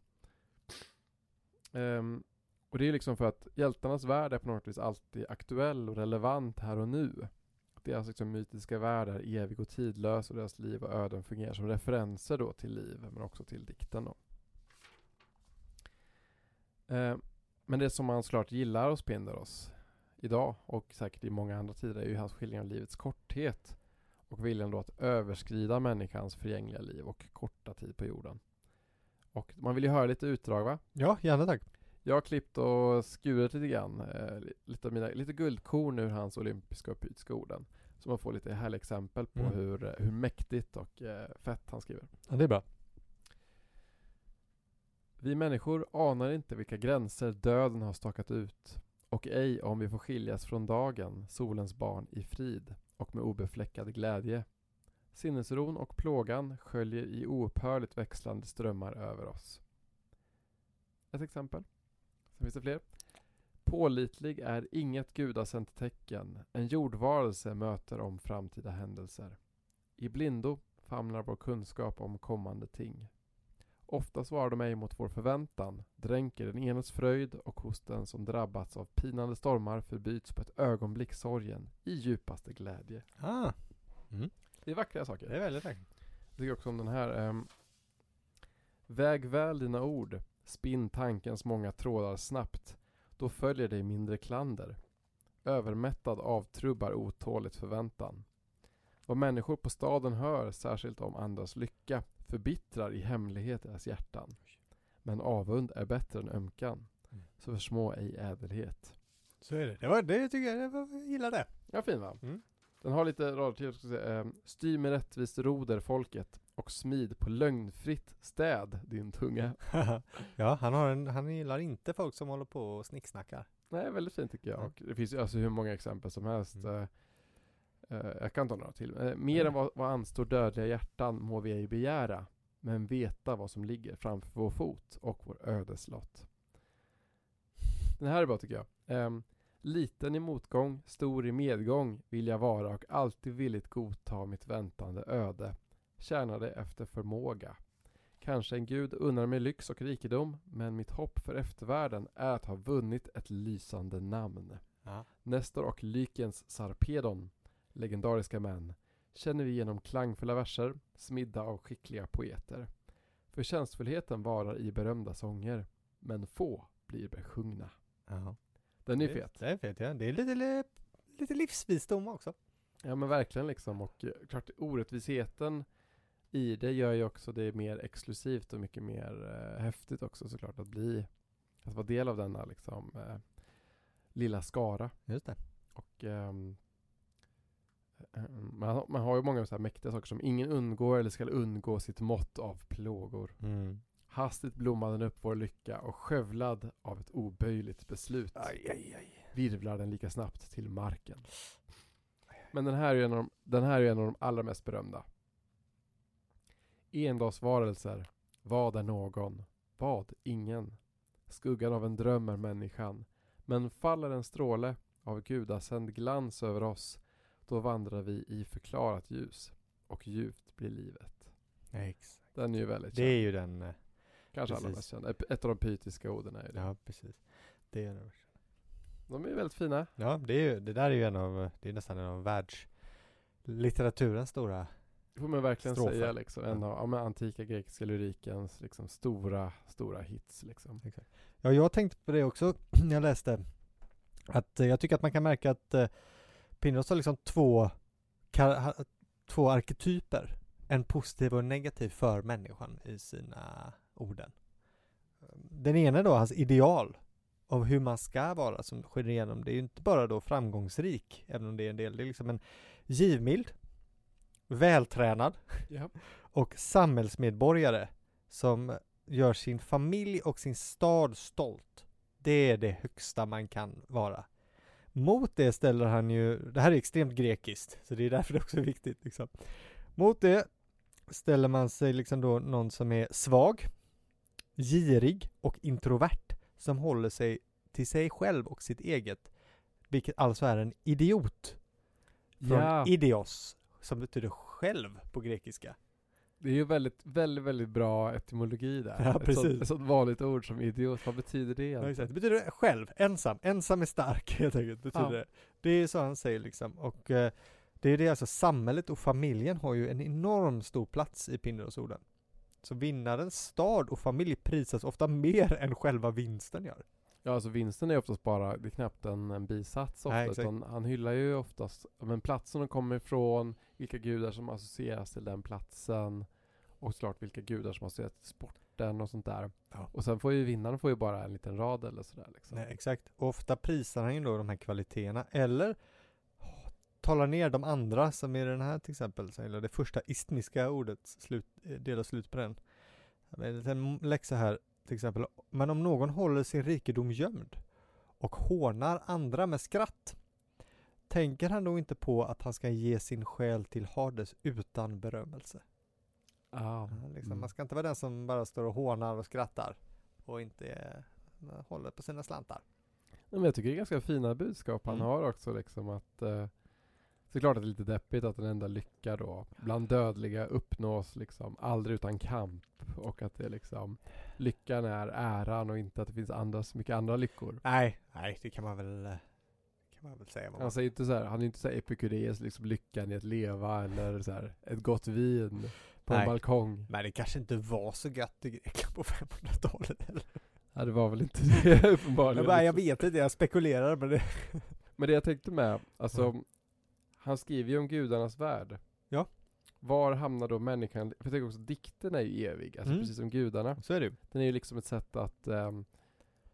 Ehm, och det är ju liksom för att hjältarnas värld är på något vis alltid aktuell och relevant här och nu. Deras liksom mytiska värld är evig och tidlös och deras liv och öden fungerar som referenser då till liv men också till dikten. Då. Eh, men det som man såklart gillar hos Pindaros idag och säkert i många andra tider är ju hans skildring av livets korthet och viljan då att överskrida människans förgängliga liv och korta tid på jorden. Och man vill ju höra lite utdrag va?
Ja, gärna tack.
Jag har klippt och skurit lite grann, eh, li- lite, av mina, lite guldkorn ur hans olympiska och pytiska orden. Så man får lite härliga exempel på
Mm.
hur, eh, hur mäktigt och eh, fett han skriver.
Ja, det är bra.
Vi människor anar inte vilka gränser döden har stakat ut och ej om vi får skiljas från dagen, solens barn, i frid och med obefläckad glädje. Sinnesron och plågan sköljer i oupphörligt växlande strömmar över oss. Ett exempel. Sen finns det fler. Pålitlig är inget gudasänt tecken. En jordvarelse möter om framtida händelser. I blindo famnar vår kunskap om kommande ting. Ofta svarar de ej mot vår förväntan, dränker den enes fröjd och hos den som drabbats av pinande stormar förbyts på ett ögonblick sorgen i djupaste glädje.
Ah,
Det är vackra saker.
det är väldigt tack.
Jag tycker också om den här. ehm, Väg väl dina ord, spinn tankens många trådar snabbt, då följer dig mindre klander. Övermättad avtrubbar otåligt förväntan. Vad människor på staden hör, särskilt om andras lycka, förbittrar i hemlighet deras hjärtan. Men avund är bättre än ömkan,
Mm.
så försmå ej ädelhet.
Så är det. Det, var, det tycker jag, det var, jag gillar det.
Ja, fin va?
Mm.
Den har lite rader till, jag ska säga. ehm, Styr med rättvist roder folket och smid på lögnfritt städ din tunga.
[laughs] ja, han, har en, han gillar inte folk som håller på och snicksnackar.
Nej, väldigt fint tycker jag.
Ja.
Och det finns ju alltså hur många exempel som helst.
Mm.
Eh, eh, jag kan ta några till. Eh, mer
Mm.
än vad, vad anstår dödliga hjärtan må vi ej begära, men veta vad som ligger framför vår fot och vår ödeslott. Den här är bra tycker jag. Ehm, Liten i motgång, stor i medgång vill jag vara och alltid villigt godta mitt väntande öde. Tjäna det efter förmåga. Kanske en gud unnar mig lyx och rikedom, men mitt hopp för eftervärlden är att ha vunnit ett lysande namn.
Ja.
Nestor och Lykens Sarpedon, legendariska män, känner vi genom klangfulla verser, smidda av skickliga poeter. Förtjänstfullheten varar i berömda sånger, men få blir besjungna.
Ja.
Den är
Det-
fet.
Det är fet, ja. Det är lite, li- lite livsvisdom också.
Ja men verkligen liksom och eh, klart orättvisheten i det gör ju också det mer exklusivt och mycket mer eh, häftigt också såklart att bli, att vara del av denna liksom eh, lilla skara.
Just det.
Och ehm, eh, man, har- man har ju många så här mäktiga saker som ingen undgår eller skall undgå sitt mått av plågor.
Mm.
Hastigt blommar den upp vår lycka och skövlad av ett oböjligt beslut
Aj, aj, aj.
virvlar den lika snabbt till marken. Men den här är ju en av de, den här är ju en av de allra mest berömda. Endagsvarelser. Vad är någon? Vad ingen? Skuggan av en dröm är människan. Men faller en stråle av gudasänd glans över oss, då vandrar vi i förklarat ljus och djupt blir livet.
Exakt.
Den är ju väldigt
Det
känd.
är ju den, eh,
Kanske allra
precis.
mest känd. Ett- Ett av de pytiska orden är ju det.
ja precis. Det är den.
De är ju väldigt fina.
Ja, det, är ju, det där är ju en av, eh, det är nästan en av världslitteraturens stora,
Det får man verkligen
Strofer. Mm.
säga liksom. En
Ja.
av ja, men antika grekiska lyrikens liksom, stora, stora hits liksom.
ja jag tänkte på det också [clears throat] när jag läste, att eh, jag tycker att man kan märka att eh, Pindaros har liksom två, kar, ha, två arketyper, en positiv och en negativ för människan i sina orden. Den ena då, hans ideal av hur man ska vara som skiner igenom, det är ju inte bara då framgångsrik, även om det är en del, det är liksom en givmild, vältränad,
Ja.
och samhällsmedborgare som gör sin familj och sin stad stolt. Det är det högsta man kan vara. Mot det ställer han ju, det här är extremt grekiskt, så det är därför det också är viktigt. Liksom. Mot det ställer man sig liksom då någon som är svag, girig och introvert som håller sig till sig själv och sitt eget, vilket alltså är en idiot. Från
Ja.
idios, som betyder själv på grekiska.
Det är ju väldigt, väldigt, väldigt bra etymologi där.
Ja,
Ett, sånt,
precis.
ett sånt vanligt ord som idiot, vad betyder det
Ja,
egentligen?
exakt. Det betyder själv, ensam. Ensam är stark [laughs] helt enkelt. Betyder
Ja.
det. det är så han säger liksom. Och eh, det är det alltså, samhället och familjen har ju en enorm stor plats i Pindaros orden. Så vinnarens stad och familj prisas ofta mer [laughs] än själva vinsten gör.
Ja, alltså vinsten är oftast bara, det är knappt en, en bisats ofta,
Nej, exakt.
utan han hyllar ju oftast, ja, men platsen de kommer ifrån, vilka gudar som associeras till den platsen, och såklart vilka gudar som associeras till sporten och sånt där.
Ja.
Och sen får ju vinnaren får ju bara en liten rad eller sådär liksom.
Nej, exakt. Och ofta prisar han ju då de här kvaliteterna eller åh, talar ner de andra som i den här till exempel, så- eller det första istmiska ordet, slut, eh, del och slut på den. Det är en liten läxa här till exempel. Men om någon håller sin rikedom gömd och hånar andra med skratt tänker han då inte på att han ska ge sin själ till Hades utan berömmelse.
Ja,
Ja, Liksom,
mm.
Man ska inte vara den som bara står och hånar och skrattar och inte eh, håller på sina slantar.
Nej, men jag tycker det är ganska fina budskap han
Mm.
har också liksom att eh, Såklart att det är lite deppigt att den enda lycka då bland dödliga uppnås liksom aldrig utan kamp och att det liksom Lyckan är äran och inte att det finns andra, så mycket andra lyckor.
Nej, nej, det kan man väl, eh, kan man väl säga. Vad man
Han säger inte så här, han är inte så här epikureus, liksom lyckan i att leva eller så här ett gott vin på en
Nej.
balkong.
Men det kanske inte var så gött i Grekland på [laughs] 500-talet heller.
Ja, det var väl
[laughs]
inte det uppenbarligen.
Jag, bara, jag vet inte, jag spekulerar men det...
Men det jag tänkte med, alltså Han skriver ju om gudarnas värld.
Ja.
Var hamnar då människan? För jag tänker också, dikten är ju evig, alltså
Mm.
precis som gudarna.
Så är det ju.
Den är ju liksom ett sätt att ehm,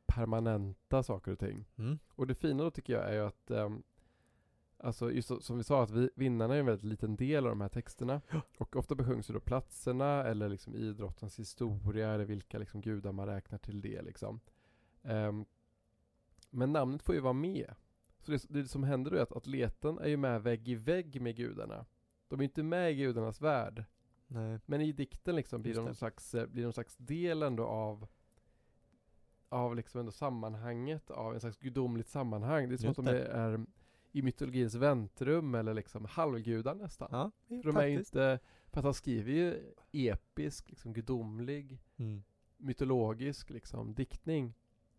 permanenta saker och ting.
Mm.
Och det fina då tycker jag är ju att, ehm, alltså just så, som vi sa, att vi, vinnarna är en väldigt liten del av de här texterna. Och ofta besjungs ju då platserna eller liksom idrottens historia eller vilka liksom gudar man räknar till det liksom. Ehm, men namnet får ju vara med. Så det, det som händer då är att atleten är ju med vägg i vägg med gudarna. De är inte med i gudarnas värld.
Nej.
Men i dikten liksom blir
Just
de
det.
någon slags, eh, blir de någon slags del ändå av av liksom ändå sammanhanget, av en slags gudomligt sammanhang. Det är som
Just
att de
det.
är, är i mytologins väntrum eller liksom halvgudar nästan.
Ja,
För de är ju inte, för att han skriver ju episk, liksom gudomlig,
Mm.
mytologisk liksom diktning.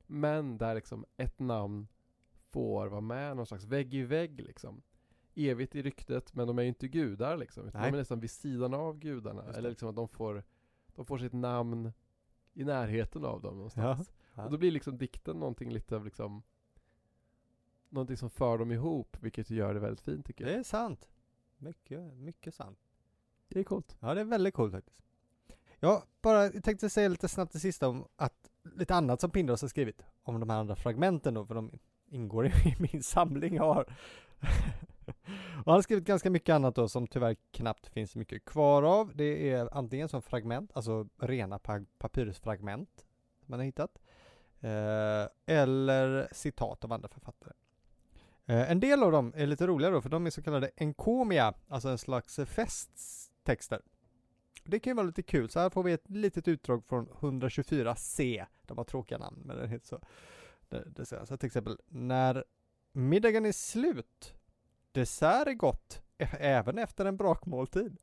Men där liksom ett namn får vara med någon slags vägg i vägg liksom. Evigt i ryktet, men de är ju inte gudar liksom. Utan
Nej.
de är nästan vid sidan av gudarna.
Just det.
Eller liksom att de får, de får sitt namn i närheten av dem någonstans.
Ja.
Och då blir liksom dikten någonting lite av liksom Någonting som för dem ihop, vilket gör det väldigt fint tycker jag.
Det är sant. Mycket, mycket sant.
Det är coolt.
Ja, det är väldigt coolt faktiskt. Ja, bara jag tänkte säga lite snabbt det sista om att lite annat som Pindaros har skrivit om de här andra fragmenten då, för de ingår i [laughs] min samling jag har. [laughs] Och han har skrivit ganska mycket annat då som tyvärr knappt finns mycket kvar av. Det är antingen som fragment, alltså rena pa- papyrusfragment man har hittat. Eh, eller citat av andra författare. Eh, en del av dem är lite roliga då, för de är så kallade enkomia, alltså en slags eh, festtexter. Det kan ju vara lite kul, så här får vi ett litet utdrag från 124C. De har tråkiga namn, men den heter så. Det, det säger jag. så till exempel, när middagen är slut, dessert är gott, ä- även efter en brakmåltid.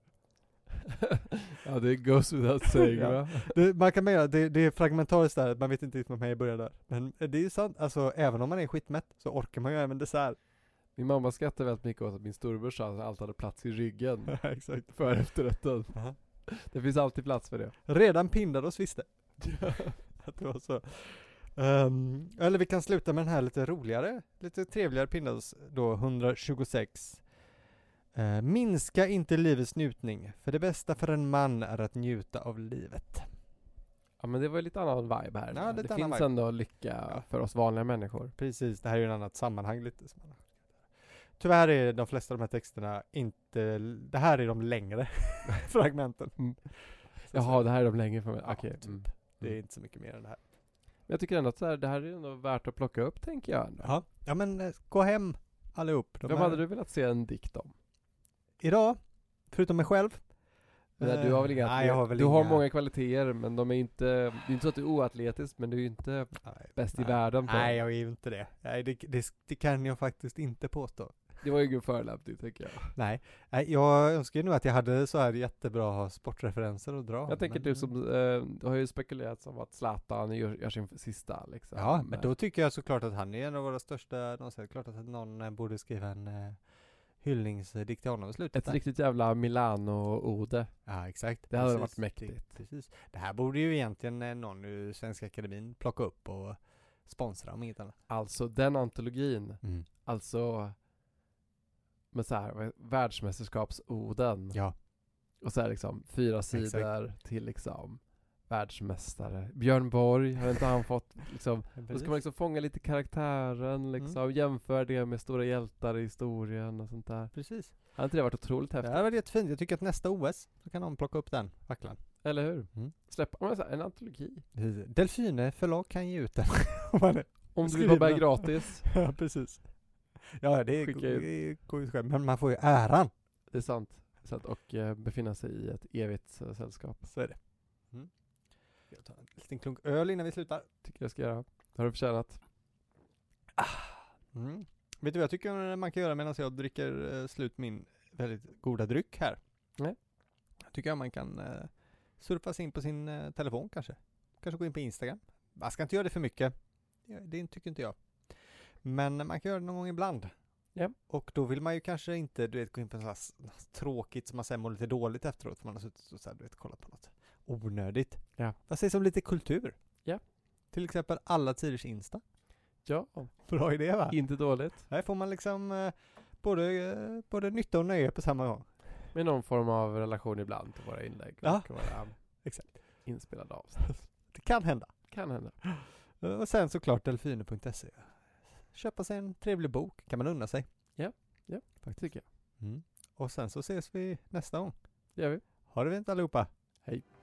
[laughs] ja, det goes without saying
[laughs] Ja.
va?
Det, man kan mena, det, det är fragmentariskt där, man vet inte riktigt vad man är i början där. Men det är ju sant, alltså även om man är skitmätt så orkar man ju även dessert. [laughs]
Min mamma skrattade väldigt mycket åt att min storebror sa att allt hade plats i
[laughs]
ryggen
Exakt.
för efterrätten.
Aha.
Det finns alltid plats för det.
Redan Pindaros visste [laughs] att det var så. Ehm, eller vi kan sluta med den här lite roligare, lite trevligare Pindaros då, 126. Eh, minska inte livets njutning, för det bästa för en man är att njuta av livet.
Ja men det var ju lite annan vibe här.
Ja,
det
lite
finns
annan vibe.
ändå lycka
Ja.
för oss vanliga människor.
Precis, det här är ju ett annat sammanhang lite. som man har. Tyvärr är de flesta av de här texterna inte, det här är de längre [laughs] fragmenten.
Mm.
Så att
Jaha, det här är de länge för mig.
Ja,
Okej.
typ.
Mm.
säga, det är inte så mycket mer än det här.
Men jag tycker ändå att så här, det här är ändå värt att plocka upp tänker jag. Ändå.
Ja, ja men eh, gå hem allihop. De
Vem
här-
hade du velat se en dikt om?
Idag, förutom mig själv.
Nej,
eh,
du har väl inga
nej, jag har
atlet-
väl
Du har
inga-
många kvaliteter men de är inte, det är inte så att du är oatletisk men du är ju inte
Nej,
bäst
nej.
i världen på det.
Nej, jag är ju inte det. Nej, det, det. Det kan jag faktiskt inte påstå.
Det var ju ingen förolämpning tänker jag.
Nej, nej jag önskar ju nu att jag hade så här jättebra sportreferenser att dra.
jag tänker
men-
du som, eh, det har ju spekulerats om att Zlatan gör, gör sin sista liksom.
Ja, men då tycker jag såklart att han är en av våra största någonsin. Klart att någon eh, borde skriva en eh, hyllningsdikt till honom i slutet.
Ett
där.
riktigt jävla Milano-ode.
Ja, exakt.
Det hade
Precis.
varit mäktigt.
Det, precis. Det här borde ju egentligen eh, någon ur Svenska Akademin plocka upp och sponsra om inget annat.
Alltså den antologin Alltså med så här, vad- världsmästerskapsorden
Ja.
och så här liksom fyra
Exakt.
sidor till liksom världsmästare. Björn Borg, har inte han fått liksom, då ska man liksom fånga lite karaktären liksom, jämföra det med stora hjältar i historien och sånt där.
Precis.
Hade inte det varit otroligt
Det
häftigt?
här var jättefint. Jag tycker att nästa OS, så kan någon plocka upp den facklan.
Eller hur?
Mm.
Släppa, ja, men så här, en antologi.
Delfine förlag kan ge ut den. [laughs] om man är-
Om du vill
Skriv
vara med
den.
gratis,
ja, precis. Ja, det är-
Skicka ut.
det går ju själv. Men man får ju äran.
det är sant. Så att, och eh, befinna sig i ett evigt eh, sällskap.
Så är det. Mm. Jag tar en liten klunk öl innan vi slutar.
Tycker jag ska göra. Det har du förtjänat.
Mm. Vet du vad jag tycker man kan göra medan jag dricker eh, slut min väldigt goda dryck här?
Nej.
Jag tycker jag man kan eh, surfa sig in på sin eh, telefon kanske. Kanske gå in på Instagram. Man ska inte göra det för mycket. Det, det tycker inte jag. Men man kan göra det någon gång ibland.
Ja.
Och då vill man ju kanske inte du vet, gå in på något så här s- tråkigt som man sen mår lite dåligt efteråt för man har suttit och så här, du vet, kollat på något onödigt.
Ja.
Vad sägs om lite kultur?
Ja.
Till exempel alla tiders Insta.
Ja,
Bra idé va?
inte dåligt.
Här får man liksom eh, både, eh, både nytta och nöje på samma gång.
Med någon form av relation ibland till våra inlägg.
Ja.
Och våra
Exakt.
inspelade avsnitt.
Det kan hända.
Kan hända.
Eh, Och sen såklart delfiner.se. Köpa sig en trevlig bok kan man unna sig. Mm.
Tycker jag.
Och sen så ses vi nästa gång.
Det gör vi.
Ha det fint allihopa.
Hej.